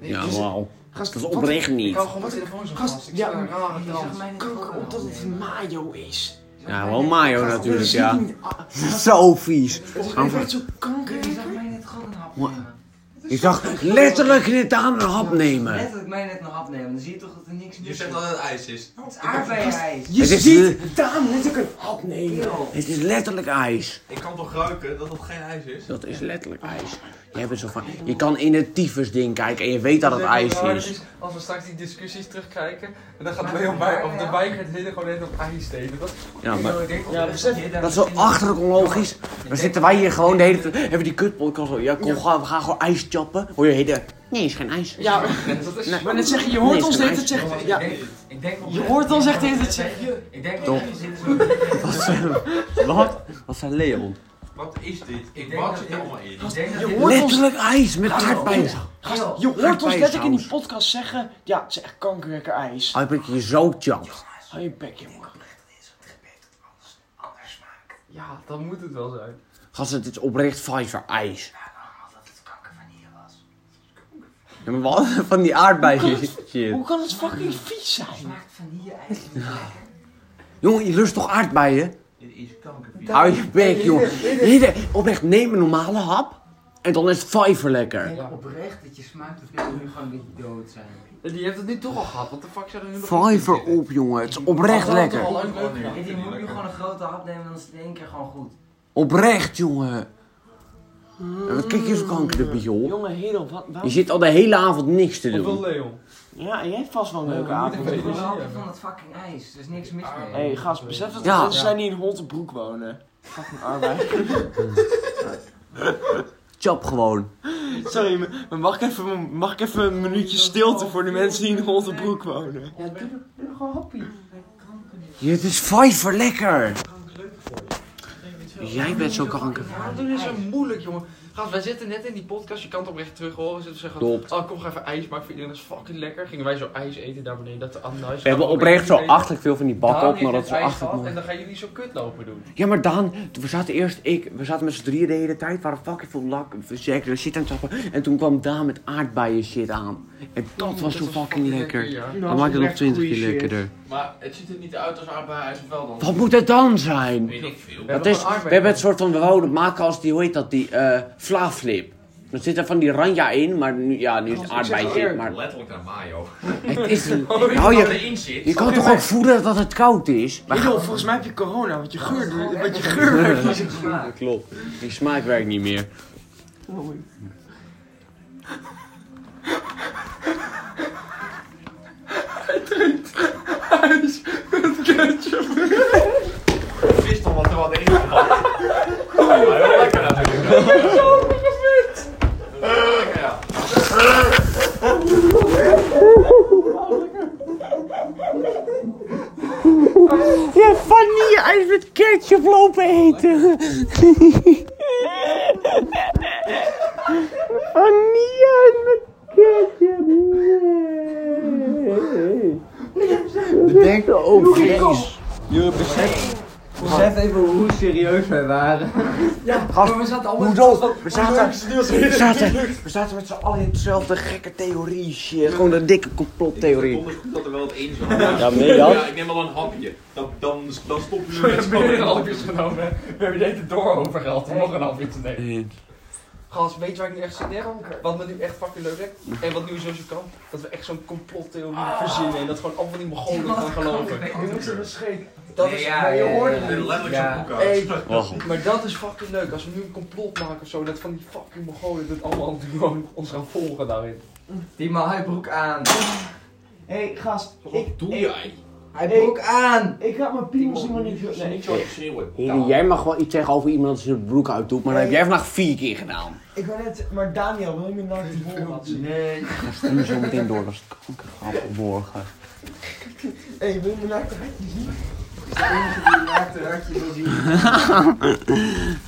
Ja, wauw.
dus- Gast,
Dat is
wat-
oprecht niet.
Ik hou gewoon mijn telefoon zo vast. Ik
ja,
sta
maar-
raar aan de rand.
Kanker, omdat het mayo is.
Ja, wel mayo
Gast,
natuurlijk,
dat zie
ja.
ik niet. Ah,
Zo vies.
Het is echt zo kanker.
Je zag mij net gewoon een hap
Wat?
nemen.
Ik zag letterlijk net aan een hap nemen.
Letterlijk mij net een hap nemen. Dan zie je toch dat er niks
Je
meer
zegt
zit.
dat het ijs is.
Het is aardbeienijs.
Je
Het is
ziet Daan net ook een hap nemen.
Yo.
Het is letterlijk ijs.
Ik kan toch ruiken dat het geen ijs is?
Dat is letterlijk ijs. Je, hebt zo van, je kan in het tyfusding kijken en je weet dat het ijs
Maar
is.
het Als we straks die discussies terugkijken, en dan gaat Leon bij, of de wijk het hele gewoon net op ijs steden. Dat
Ja, maar
ik denk,
Ja, besef
dat is zo achterlijk onlogisch. Dan zitten wij hier gewoon de hele tijd. Hebben die kutpodcast al. Ja, kom, Gaan, we gaan gewoon ijs chappen. Hoor je hele. Nee, is geen ijs.
Ja,
dat is...
maar net zeg je, je hoort
Nee,
ons de hele
ijs.
tijd zeggen. Ja,
Ik denk
je hoort ons echt de hele tijd zeggen.
Ik denk
Toch. Wat zijn Wat? Wat zijn Leon?
Wat is dit? Ik
denk
wat
dat
zit
dit-
er allemaal in?
Je hoort ons,
Letterlijk ijs met aardbeien.
gast, je hoort ons letterlijk in die podcast zeggen. Ja, het is echt kankerwekker ijs.
Hij ben je zo chapt.
Hou je bek, jongen.
Ja, dat moet het wel zijn.
Gast, het is oprecht Pfizer ijs. Ja, maar wat? Van die aardbeien shit.
Hoe kan het fucking vies zijn?
Jongen, je lust toch aardbeien?
Dit is kankervies.
Hou je bek, jongen. Hier, oprecht, neem een normale hap. En dan is het Pfizer lekker.
Oprecht dat je smaakt of dit nu gewoon dat je dood zijn.
Die heeft het nu toch al gehad, wat de fuck zijn er nu nog?
Pfizer op, jongen. Het is oprecht lekker.
Al lang leuk gedaan.
En die moet nu gewoon een grote hap nemen, dan is het in één keer gewoon goed.
Oprecht, jongen. En wat kijk je zo kankerlijk, joh?
Jongen, Hedel, wat?
Je
waarom-
zit al de hele avond niks te
Ik wil
doen.
Leon.
Ja, en jij hebt vast wel een leuke avond.
Het is
Hé,
gewoon een hapje van dat fucking ijs. Er is niks mis mee.
hey, gast, besef dat er
Ja.
mensen zijn die in Holtenbroek wonen. Fucking arbeid.
Chap gewoon.
Sorry, maar- maar mag ik, even, een- mag ik even een minuutje stilte voor de mensen die in Holtenbroek wonen?
Ja, het is Pfeiffer lekker. Jij bent zo kanker.
Waarom doen jullie zo moeilijk, jongen? Gast, Gast, wij zitten net in die podcast, je kan het oprecht terug horen. Zitten we zeggen,
Klopt.
oh kom, ga even ijs maken voor iedereen, dat is fucking lekker. Gingen wij zo ijs eten daar beneden, dat de andere
We hebben oprecht zo achterlijk veel van die bak op, maar dat is wel achterlijk
gehad, En
mooi.
dan gaan jullie zo kut lopen doen.
Ja, maar Daan, we zaten eerst, ik, we zaten met z'n drieën de hele tijd, waren fucking veel lak, zeker shit aan het tappen. En toen kwam Daan met aardbeien shit aan. En dat was zo fucking lekker.
ja.
Nou, Dat maakt het nog 20 keer lekkerder.
Maar het ziet er niet uit als aardbeien of wel dan.
Wat moet het dan zijn?
Weet ik veel.
Dat is, we hebben het soort van, we wouden maken als die, hoe heet dat, die eh vlaaflip. Dan zit er van die ranja in, maar nu, ja, nu is het aardbei zit, maar
Letterlijk naar mayo.
het is een-
Weet
nou,
je wat
je,
erin zit?
je kan toch ook voelen dat het koud is? Maar
Jeroen, volgens mij heb je corona, want je geur, want je geur werkt niet zo goed.
klopt, die smaak werkt niet meer.
Ik wist al wat er wat in zat. Maar heel lekker natuurlijk. Ik heb zo lekker ja.
Ja, vanille-ijs met ketchup lopen eten. vanille-ijs met ketchup.
Bedenk oh jezus.
Besef even hoe serieus wij waren.
Hoezo? We zaten, we zaten, we zaten met z'n allen in hetzelfde gekke theorie shit. Gewoon een dikke complottheorie.
Donders goed dat er wel wat in zat. Ja,
nee
ja, ik neem al een hapje. Dan, dan, dan stop je met
We hebben een
spelen.
halfjes genomen. hè. We hebben de hele door over geld om nog een halfje te nemen. Gast, weet je waar ik nu echt zit, Nero? Wat me nu echt fucking leuk lijkt? En wat nu sowieso kan? Dat we echt zo'n complottheorie verzinnen en dat gewoon allemaal die Mongolen gaan geloven. Dat is, maar je hoort het niet.
Letterlijk zo'n boek uit.
Hey, maar dat is fucking leuk. Als we nu een complot maken of zo, dat van die fucking Mongolen dat allemaal gewoon ons gaan volgen daarin.
Die man, hij broek aan.
Hé, hey, gast. Ik,
Wat doe jij?
Hij broek aan.
ik had mijn piemels helemaal niet...
Ik
Nee,
niet zo hard schreeuwen.
Heren,
Nou.
jij mag wel iets zeggen over iemand dat zijn broek uitdoet, maar dat heb jij vandaag vier keer gedaan.
ik wou net... Maar Daniel, wil je me nou die bol laten zien?
Nee.
Dan stuur je zo meteen door, dat is kankergrap morgen.
Hé, wil je me nou die zien?
Dat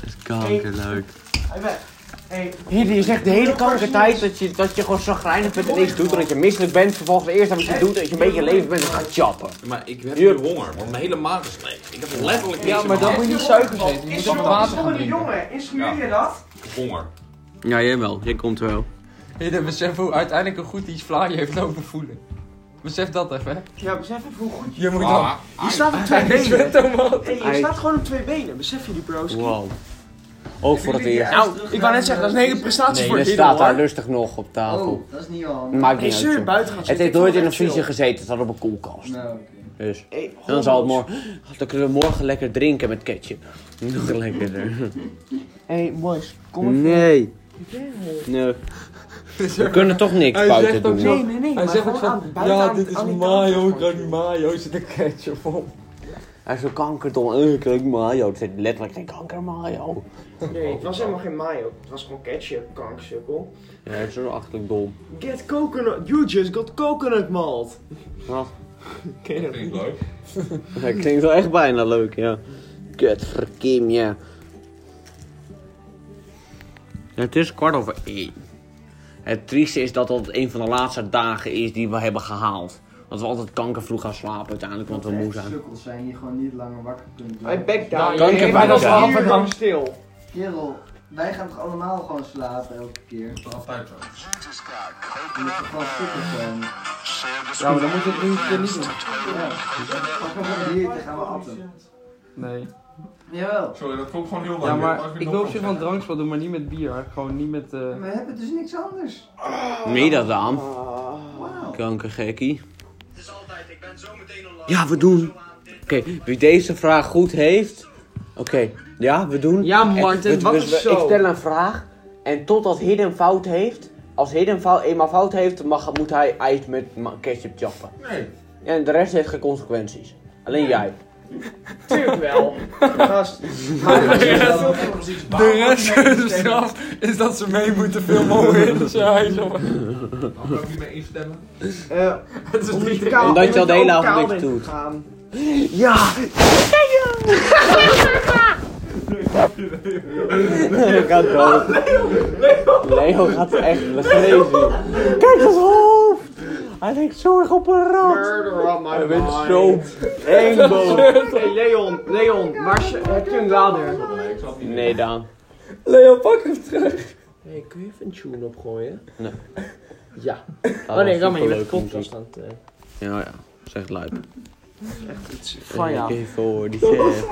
is kankerleuk.
Hij weg. Hé,
Heren, je zegt de hele
nou
kankertijd dat je, dat je gewoon zagrijnig bent en niks doet, en dat je misselijk bent, vervolgens eerst dat je doet, dat je een beetje leven bent en gaat chappen.
Maar ik heb
Hier.
nu honger, want mijn hele maag is leeg. Ik heb letterlijk niks
Ja,
in
maar
mijn
dan moet
maag.
je niet suikers eten. Je
is
moet
er
ook
nog
water
een
gaan
andere
drinken.
jongen? Is jullie dat?
Honger.
Ja, jij wel. Jij komt wel.
Hidden, besef hoe uiteindelijk een goed iets Vlaai heeft lopen voelen. Besef dat even, hè.
Ja, besef even hoe goed je...
Je moet dan...
Ah,
Je staat op twee benen.
Tomaat.
Hé, je staat gewoon op twee benen. Besef je die bro's?
Wow. Ook voor het eerst.
Nou, ik wou net zeggen, dat is een hele prestatie
Nee,
voor
dat
dit
staat daar
hoor.
lustig nog op tafel.
Oh, dat is niet al.
Maakt
Hey,
niet uit.
zeur,
joh.
buiten gaan
Het
zitten.
heeft
Ik vond
nooit in een
echt
vriezer
chill.
gezeten, het staat op een koelkast.
Nou, oké.
Dus
Hey,
dan zal het
homo's.
morgen. Dan kunnen we morgen lekker drinken met ketchup. Nog lekkerder.
Hé, boys. Kom even.
Nee. Nee. We kunnen toch niks
Hij
buiten
zegt ook
doen.
zo-
Nee, nee, nee.
Hij
maar
zegt ook
gewoon aan-
van,
buiten
ja,
aan-
dit is
aan die
mayo, ik
tafel.
kan die mayo, zit een ketchup op.
Hij is zo kankerdom. Eh, kijk mayo. Het zit letterlijk geen kanker mayo.
Nee, het was helemaal geen mayo. Het was gewoon ketchup,
Oh,
kanksukkel.
Ja, hij is zo achterlijk dom.
Get coconut. You just got coconut malt.
Wat?
Ken je dat?
vind ik leuk.
Dat klinkt wel echt bijna leuk, ja. Kut, verkim, ja. Het is kwart over één. Het trieste is dat het een van de laatste dagen is die we hebben gehaald. Dat we altijd kankervroeg gaan slapen uiteindelijk, want we moe
Echt
zijn.
sukkels zijn die gewoon niet langer wakker kunnen
Hij
blijven.
back down.
Kanker
Hey,
bijna
was
down.
half een lang stil.
Kerel, wij gaan toch allemaal gewoon slapen elke keer? We
Altijd zo.
moeten gewoon sukkels zijn.
Ja, maar dan moet je het niet keer niet doen.
Ja. Pak nog een biertje, gaan we atten.
Nee.
Jawel.
Sorry, dat klopt gewoon heel lang.
Ja, maar ik wil op zich wel een drankspel doen, maar niet met bier. Gewoon niet met... eh,
We hebben dus niks anders.
Meen je dat dan?
Wauw.
Kankergekkie. Ja, we doen. Oké, wie deze vraag goed heeft. Oké, ja, we doen.
Ja,
En
Martin,
we- we-
wat is
we-
zo?
Ik stel een vraag. En totdat Hidden fout heeft. Als Hidden fout, eenmaal fout heeft, mag, moet hij ijs met ma- ketchup chappen.
Nee.
En de rest heeft geen consequenties. Alleen jij.
Tuurlijk wel. Gast.
Precies.
De rest van de straf is dat ze mee moeten filmen in de huis.
Waarom kan ik niet mee instemmen?
Eh,
Het is niet
kaal-
Omdat je al de
ook
hele
kaal
avond niks
bent
doet.
gegaan.
Ja!
Leo gaat dood. Leo gaat echt lezen. Kijk zijn hoofd! Hij lijkt zo erg op een rat.
Murder on my
Hij bent
mind.
zo eng boos.
Hey Leon, Leon, waar is- heb je een lader?
Nee, Daan.
Leo, pak hem terug.
Hey, kun je even een tune opgooien?
Nee.
Ja.
Oh nee, rammer, je bent de podcast
aan het...
eh.
Ja, ja. Zegt luip.
Van ja.
Even voor die verf.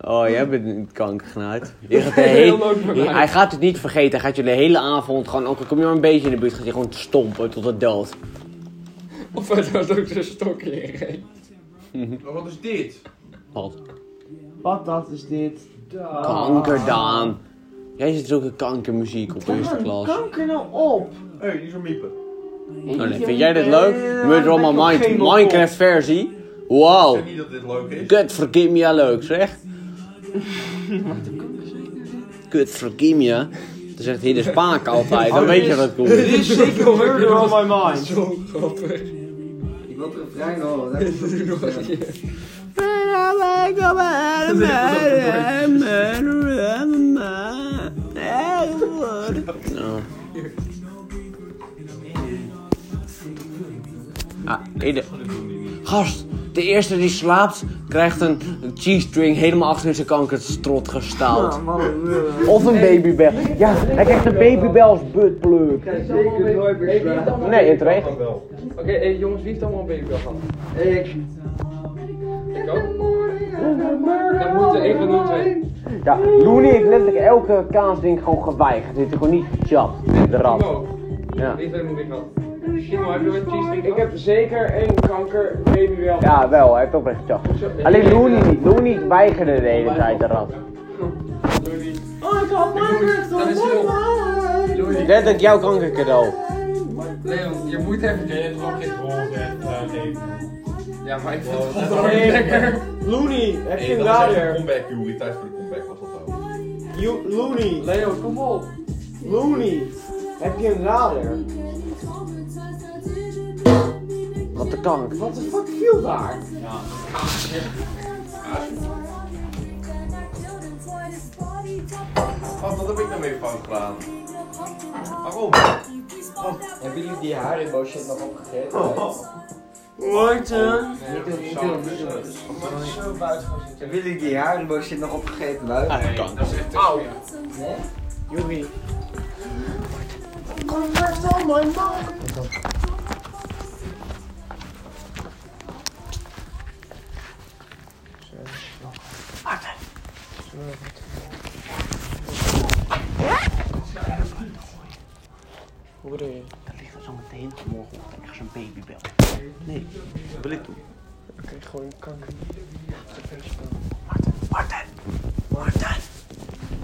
Oh, jij bent niet kankergenaaid. Je gaat de hele- Hij gaat het niet vergeten. Hij gaat jullie de hele avond gewoon, ook al kom je maar een beetje in de buurt, gaat hij gewoon stompen tot het dood.
Of hij doet ook zijn stok in.
Maar wat is dit?
Wat?
Wat dat is dit? Daar.
Kanker, Daan. Jij zit zulke kankermuziek op eerste klas.
Kanker nou op!
Hé, die is een miepen.
Oh, nee. Vind jij dit leuk? Murder on my mind. Minecraft versie.
Ik
Wow.
zeg niet dat dit leuk is.
Kut, vergeet me ja leuk, zeg. Kut, vergeet me ja. Dan zegt hij de spaak altijd. Dan weet je dat het cool is.
Dit is zeker murder on my mind.
Zo grappig.
Ik wil er een vrij horen. dat is het.
Nou. Ah, ieder- Gast, de eerste die slaapt krijgt een G-string helemaal achter zijn kankerstrot gestaald. Of een babybel. Ja, hij krijgt een babybel als buttplug.
Zeker nooit meer slapen.
Nee, het regent.
Oké, hey, jongens, wie heeft allemaal een baby al gehad?
Ik.
Ik ook. Dan moeten één van de twee.
Ja, Looney heeft letterlijk elke kaasding gewoon geweigerd. Hij heeft er gewoon niet gejat, de rat.
Timo.
Ja.
Die twee moet ik gehad. Timo, heb je wat cheese
Ik heb zeker één kanker, baby wel.
Ja, wel, hij heeft ook echt gejat. Alleen Looney niet. Looney weigerde de hele tijd de
Oh,
rat.
ik had Minecraft
Dan is hij op.
Letterlijk jouw kankercadeau.
Leon, je moet even
Dit is ook geen rol, zeg. Eh, nee.
Ja, maar ik vind het
Wow.
wel lekker.
Looney, heb je
Nee,
een
dat is echt een
lader?
comeback, Joeri. Tijd voor de comeback was dat ook.
You- Looney,
Leo, kom op.
Looney, heb je een lader?
Wat de kank.
Wat de fuck viel daar?
Wat, wat heb ik nou weer fout gedaan? Waarom?
Hebben jullie die haribo shit nog opgegeten?
Morten.
Nee, dat is
wil-
zo- dat is zo buitengewoon.
Hebben jullie die Haribo shit nog opgegeten, lui?
Ah, de kank.
Dat is echt Auw.
Joeri.
Er ligt er zo meteen morgenochtend ergens een babybel. Nee, dat wil ik doen. Oké, gooi een kanker. Martin, Martin, Martin,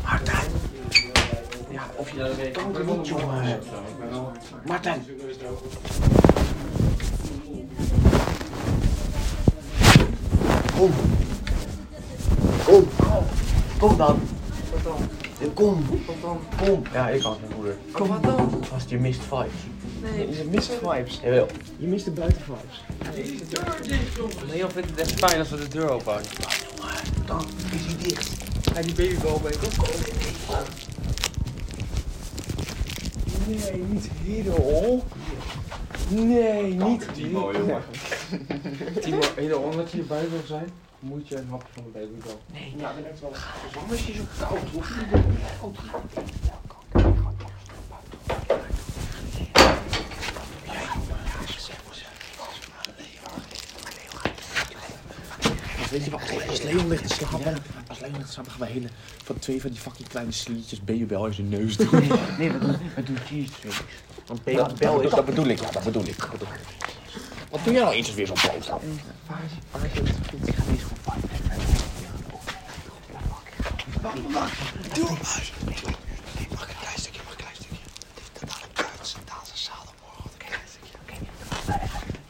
Martin. Ja, of je dat kanker niet, jongen. Martin. Kom. Kom. Kom dan. Kom. Kom. Ja, ik had mijn moeder.
Kom wat dan?
Vast je mist vibes.
Je mist vibes.
Jawel.
Je mist de buitenvibes.
Leo vindt het echt fijn als we de deur openhouden.
Dan is hij dicht.
Hij die babybal bij
Nee, niet Hiddel. Nee, niet
Timo, jongen.
Timo, hele omdat je erbij wil zijn, moet je een hapje van de babybal.
Weet je wat, als Leon ligt te slapen, als Leon ligt te slapen gaan wij hele, van twee van die fucking kleine sliertjes babybel in zijn neus doen. Nee, nee we doen, we doen cheese Want babybel is... Dat bedoel ik, ja, dat bedoel ik. Dat bedoel ik. Wat doe jij nou eens als weer zo'n poot aan? Ik ga deze gewoon pakken. Wacht, wacht, doe! Nee, wacht, nee, Mag ik een klein stukje, mag ik een klein stukje? Dat is een kut, dat is een zadelmorgen. Een klein stukje, oké.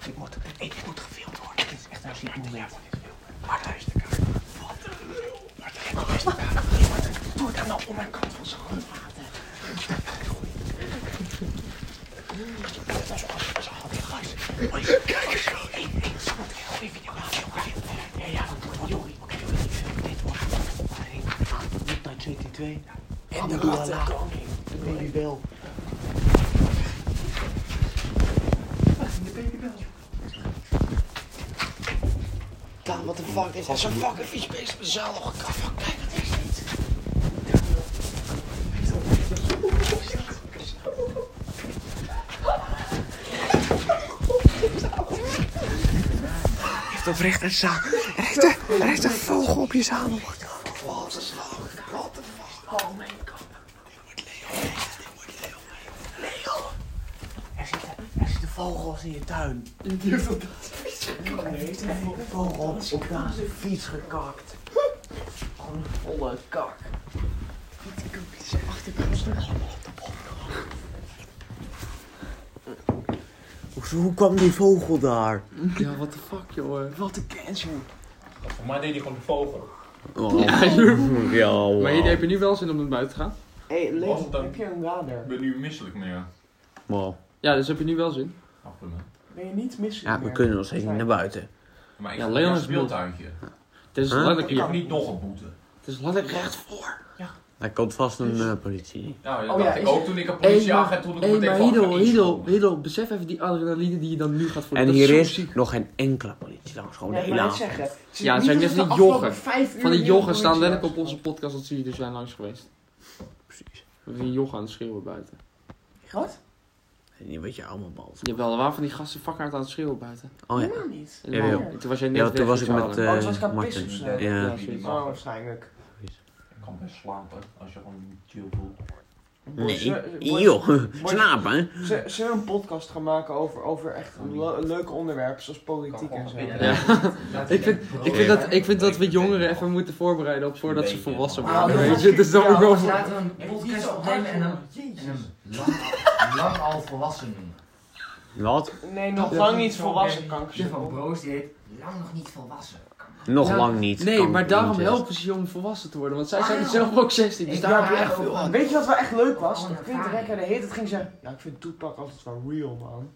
Dit moet, hey, dit moet gefilmd worden. Dit is echt een ziek moment. Martha is de kaart. Wat een lul. Martha is de beste kaart. Hey, Martha, Doe het dan nou om mijn kant van zijn hand. Kijk eens. Hey, hey, Sam, heel even je maat, jongen. Ja, ja, dat wordt wel, jongen. Oké, jongen. Dit wordt-
twee. En de ratten. De babybel.
Daan, wat de fuck
Dat
is dat?
is een fucking vies beest met zaal nog een kaf. Kijk, dat is niet.
Heeft oprecht een zaal. Er heeft een, er heeft een vogel op je zaal.
Oh Er zitten vogels in je tuin. Je durft op dat fiets gekakt. heeft
Hm.
een vogel op zijn fiets gekakt. Gewoon een volle kak.
Hoe, hoe kwam die vogel daar?
Ja, what the fuck, joh. Wat een cancer.
Voor mij deed hij gewoon de vogel.
Oh.
Ja, joh.
Ja, wow.
Maar jullie hebben nu wel zin om naar buiten te gaan?
Hé, hey,
Was het dan?
heb je een radar?
Ik ben nu misselijk meer.
Wow.
Ja, dus heb je nu wel zin?
Ben je niet misselijk
Ja, we
meer?
kunnen
nog
steeds
niet
naar
buiten.
Maar ik
Ja,
ja,
Leon
een
is moe.
speeltuintje.
Het is
Huh?
letterlijk
Ik
hier.
kan niet nog een boete.
Het is letterlijk recht voor.
Hij komt vast een eh, politie.
Nou, dat
Oh
dacht
ja,
ik
is-
ook toen ik een
Hey,
politieagent
maar-
toen ik
hey,
meteen
maar
van
Hidel,
ging.
Hidel, Hidel, besef even die adrenaline die je dan nu gaat voelen.
En
Dat
hier
zo
is
ziek.
nog geen enkele politie langs. Gewoon de
Nee,
hele
maar
avond.
net zeggen, het is Ja, het zijn net die joggen. Van die joggen staan letterlijk op onze podcast dat jullie er zijn langs geweest. Precies. We hebben die joggen aan het schreeuwen buiten.
Wat? Ik weet niet wat je allemaal balt.
Jawel, er waren van die gasten vakhard aan het schreeuwen buiten.
Oh ja.
Helemaal
niet.
En
Jawel.
dan- Toen was jij
Ja,
net
toen
weg
was
met
ik
je
met,
vader.
eh, Oh, toen was ik aan het Martin. pissen of zo. Ja.
Ja, precies.
Oh, waarschijnlijk.
Ik kan best slapen als je gewoon niet chill voelt.
Nee,
Boys,
joh, joh,
boys.
slapen.
Zullen zullen we een podcast gaan maken over, over echt le- leuke onderwerpen zoals politiek en zo?
Ja. ik, vind, ik, vind dat, ik vind dat we jongeren even moeten voorbereiden op voordat ze volwassen worden.
Ah,
weet je, dus dan
ja,
ook wel voor-
Laten we een podcast opnemen en dan en een lang, lang al volwassen noemen.
Wat?
Nee, nog lang niet volwassen
Die
kanker.
van Broos die heet lang nog niet volwassen.
Nog
Ja,
lang niet.
Nee,
Kan
maar
niet, eh.
daarom
hè.
helpen ze jong volwassen te worden, want zij zijn
Ah, ja.
zelf ook 16, dus
Ik
daar
daar
heb je echt veel aan.
Weet je wat wel echt leuk was? Dat Quint Rekker de hele tijd ging zeggen, nou ik vind Toepak altijd wel real man.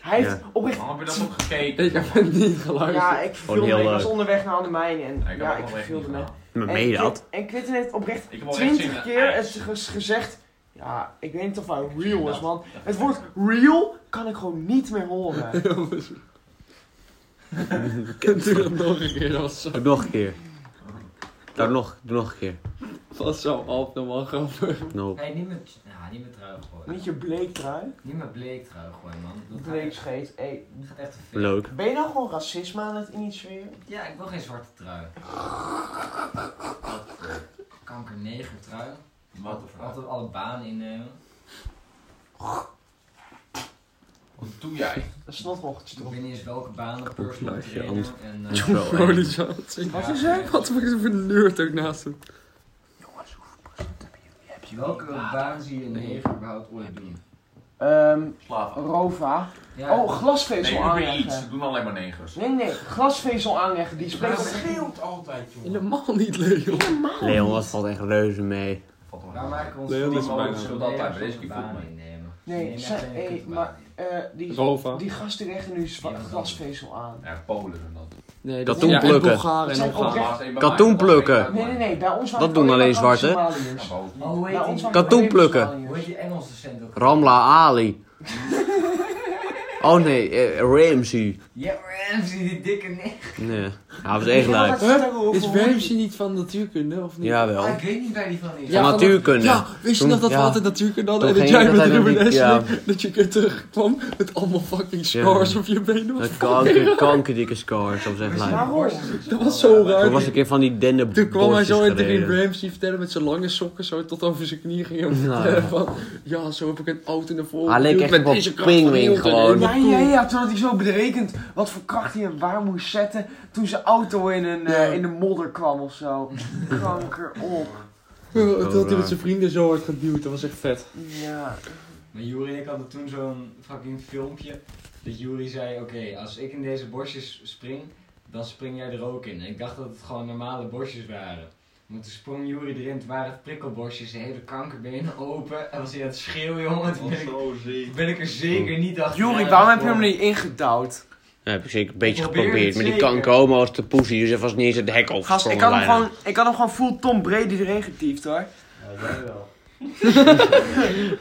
Hij heeft
Ja.
oprecht...
Waarom heb je dat ook gekeken?
Ik heb Oh, het niet geluisterd.
Ja, ik
Gewoon
viel
heel
mee. Ik was
leuk.
onderweg naar de mijn en
heb
ja,
ook
ik
onderweg
viel
niet
mee.
Maar
En
meen je
Quint-
dat?
En Quinten heeft oprecht
heb wel echt zin in
twintig
een
keer eens ge- gezegd, ja, ik weet niet of hij real is man. Het woord real kan ik gewoon niet meer horen.
Kunt u dat nog een keer als zo?
Doe nog een keer. Doe nog, doe nog een keer.
Was zo abnormaal grappig.
Nope.
Nee, niet met, ja, niet met trui gooien.
Niet je bleektrui.
Niet met bleek trui gooien man. Dat gaat
Bleek
echt-
scheet. Ey,
dat gaat echt te veel.
Leuk.
Ben je nou gewoon racisme aan het initiëren?
Ja, ik wil geen zwarte trui. eh, Kanker neger trui.
Wat
Altijd alle banen innemen.
Wat doe jij?
Dat is nog nog
Ik weet niet eens welke banen, personal
Lag je
trainer
hand.
en... eh,
Holy shit.
Wat is er?
Wat wordt er voor nerd ook naast hem?
Welke baan zie je een neger überhaupt ooit doen?
Ehm,
Slaven.
Rova.
Ja.
Oh, glasvezel
Nee, Uber
aanleggen.
Eats. Ze doen alleen maar negers.
Nee, nee, glasvezel aanleggen. Die
Maar
spreekt
dat
op
scheelt altijd, jongen.
Helemaal niet, Leon.
Leon, wat valt echt reuze mee.
Waar maken we ons
Nee, dat is
zorgen
bijna-
over
dat altijd, maar
negers
deze keer
zonder
voelt
banen
me.
innemen?
Nee,
Neem
ze-
echt een
hey,
kutbaan
maar-
in.
eh die,
Rova.
die gasten leggen nu zwa-
Ja,
glasvezel aan.
Ja, Polen en
Oh,
dat.
Nee,
dat- Katoen ja, en plukken.
Ah,
Bulgaren
en
en
Bulgaren. Oprecht.
Laatst één bij
Katoen
mij, dat was
plukken.
één
Nee,
bij
nee,
mij.
nee, bij ons
Dat doen alleen zwarte.
zwarte.
Ja, boven.
Oh, hoe
Bij ons
heet die-
waren
Katoen
alleen
plukken.
Somaliërs.
hoe heet die Engelse cent ook?
Ramla Ali. Oh nee, eh, Ramsey.
Ja, Ramsey, die dikke neger.
Nee, ja, dat was echt leuk.
Huh? Is Ramsey niet van natuurkunde of niet?
Ah,
Jawel.
ik weet niet waar die van is.
Ja. Van natuurkunde.
Ja, wist je
Toen-
nog dat we
ja.
altijd natuurkunde hadden?
Toen
En dat
ging
jij
ik
met
altijd
Ruben
naar die-
Ashley, dat je keer terugkwam met allemaal fucking scars op je benen. Wat
Een
fucking
kanker, kankerdikke scars, dat was echt leuk.
Waarom?
Dat was zo
Toen was
raar.
een keer van die denne
Toen kwam hij zo in drie
gereden.
Ramsey vertellen met zijn lange sokken zo tot over zijn knieën ging. Om te
Nou, Ja.
vertellen van, ja, zo heb ik een auto naar voren
Hij leek
geduwd
echt op
deze
een
kracht van
pinguïn
Hilton.
gewoon.
Ja, ja, ja, toen had hij zo berekend wat voor kracht hij hem waar moest zetten toen zijn auto in, een, eh, in de modder kwam of zo. Kanker op.
Ja,
Zo
Toen had hij
raar.
met zijn vrienden zo hard geduwd, dat was echt vet.
Ja.
Maar Juri en ik hadden toen zo'n fucking filmpje. Dat Juri zei, oké, als ik in deze bosjes spring, dan spring jij er ook in. En ik dacht dat het gewoon normale bosjes waren. Maar toen sprong Juri erin, toen waren het prikkelbosjes, zijn hele kankerbenen open. En was hij aan het schreeuwen, jongen. Toen ben ik, toen ben ik er zeker niet achter.
Juri, waarom heb je hem niet ingedouwd?
Ja, Nou, heb ik zeker een beetje
Probeer
geprobeerd.
het
Maar die
zeker.
kan komen als de poesie, dus hij was niet eens het hek
Gast,
opgesprongen.
ik had hem
bijna.
gewoon, ik had hem gewoon full Tom Brady erin getiefd hoor.
jij wel.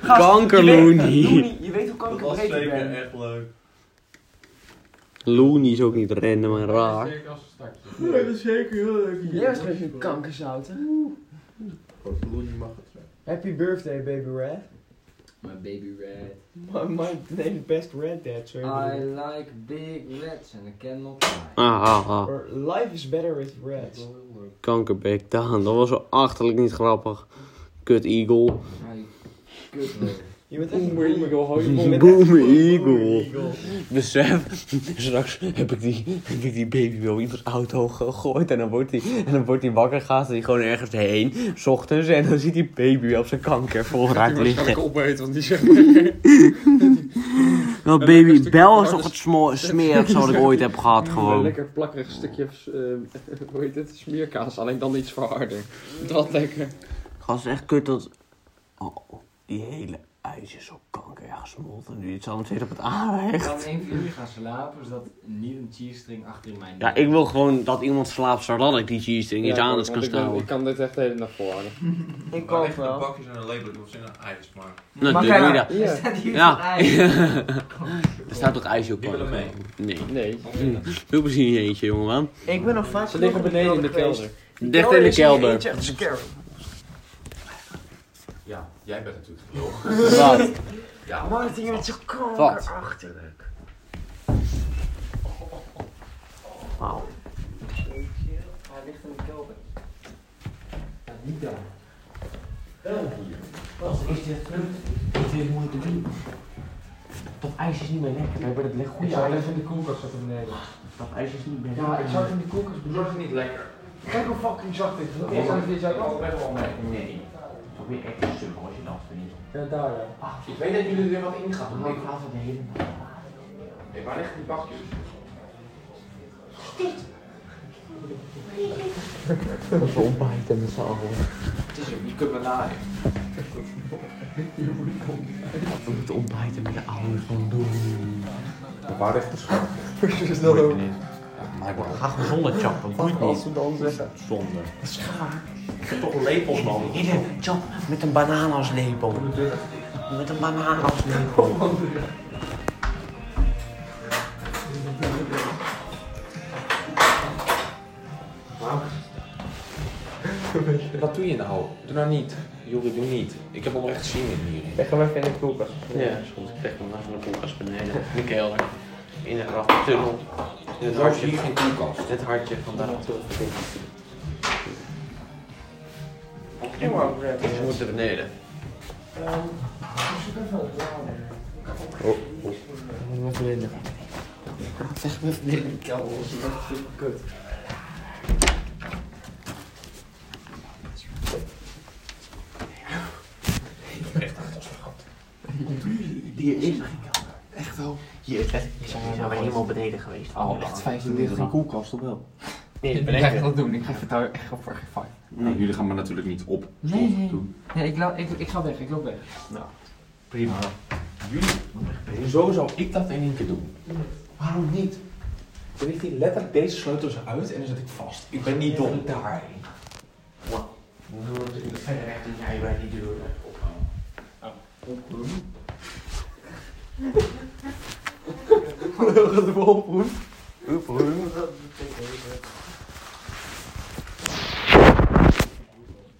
Gast, Kanker, je weet- Loenie. Loenie,
je weet hoe kanker
Dat was
breed ik
zeker
ben.
echt leuk.
Looney is ook niet random en raar.
Nee, dat is zeker heel leuk. Jij was trouwens een kankerzout, hè?
mag het zijn.
Happy birthday, baby red.
My baby red.
My, my, nee, the best red dad, sir.
I like big reds and I cannot lie.
Ah, ah, ah.
Or Life is better with reds.
Kankerbek Daan, dat was zo achterlijk niet grappig. Kut Eagle.
Je bent echt een boomer. Je bent echt-
Boom Eagle. Besef, Dus, eh, straks heb ik, die, heb ik die baby wel in iemands auto gegooid. En dan wordt hij en dan wordt hij wakker, gaat hij gewoon ergens heen. 's ochtends en dan ziet die baby op zijn kanker volgeraakt liggen.
opeten, want die zegt...
Dat baby Bel is nog het smo- smerigste wat ik ooit heb gehad
Een
gewoon.
lekker plakkerig stukje, eh, hoe heet het, smeerkaas, alleen dan iets verharder. Dat lekker.
Gast, echt kut dat... Oh, die hele ijs is op kanker ja, gesmolten nu. Het zal nog steeds op het
Ik
aanrecht.
kan één van jullie gaan slapen, zodat niet een cheerstring achter in mijn
Ja, ik wil gewoon dat iemand slaapt zodat ik die cheese ding iets
Ja,
anders kan
want ik ben-
stellen.
Ik kan dit echt de hele dag volhouden.
Ik kan het wel. bakjes en een label, dat was in een ijs, maar...
Nou,
Maar
doe
kijk,
je dat.
hier staat hier toch
Ja.
ijs?
Er staat toch ijsje op?
Die willen mee.
Nee.
Nee.
Veel plezier in je eentje, jongeman.
Ik ben nog vaak
Ze liggen
genoeg
beneden in de
geweest.
kelder.
Die
Dicht in de
is hier
kelder.
eentje echt scary.
Ja, jij bent natuurlijk
Wat?
gelogen. Ja.
Martin, je bent zo
Wat?
kankerachterlijk.
Wauw.
Hij ligt in de kelder.
Niet daar.
Wat is dit
Het is mooi te doen. Dat ijs is niet meer lekker. We hebben het leg goed
Ik zou het even in de koelkast zetten beneden.
Dat ijs is niet meer lekker.
Ja, ik zou het in de koelkast bezorgen. Dat is niet lekker. Kijk hoe fucking zacht dit is. Dit is dit ook best wel
Nee. Probeer echt te sukken als je dat verdient. Ah,
Ja, daar ja.
Ach,
Ik weet dat jullie er wat in gaan
ik haal van de hele nacht.
Nee, waar liggen die bakjes?
Dat is ontbijt en zo.
Het is ook, je kunt me na.
We moeten ontbijten met de ouders van doen.
Waar ligt de schat?
Precies dat ook. Ga gewoon zonder chappen, boeit niet.
dan zeggen.
Zonde. Schaar.
Ik heb toch lepels nodig.
Hier, chap, met een banaan als lepel. Met een banaan als lepel.
Wat doe je nou? Doe nou niet. Jullie doe niet. Ik heb al nog echt zin in hierin.
Ik ga hem even in de koelkast.
Ja, soms krijg ik hem naast de koelkast beneden. In de kelder. In een graftunnel.
In het hartje. Hier geen koelkast.
Dit hartje vandaag. Ze moeten beneden.
Oh,
oh.
Wat minder. Zeg me even in de kelder, dat is echt super kut.
Hier is mijn kelder. Echt wel? Hier is het. Hier zijn we helemaal beneden geweest.
Oh, echt 35 in
koelkast of wel?
Nee, ik ga echt dat doen. Ik ga even daar echt op voor geen fight.
Nou, jullie gaan maar natuurlijk niet op.
Nee, nee. Nee, ik, la- ik, ik ga weg, ik loop weg.
Nou, prima. Jullie, zo zou ik dat in één keer doen. Waarom niet? Dan ligt hier letterlijk deze sleutels uit en dan zit ik vast. Ik ben niet dom. Daarheen.
Wauw. We doen het natuurlijk verder recht en jij bij die deur.
Nou,
Hoe gaat het oproepen?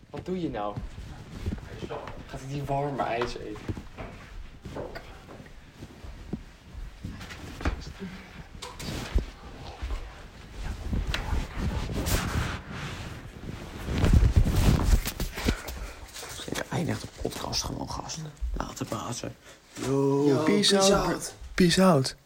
Wat doe je nou? Gaat hij die warme ijs eten?
Zeker eindigt de podcast gewoon, gasten. Later, bazen. Yo,
peace out.
Peace out.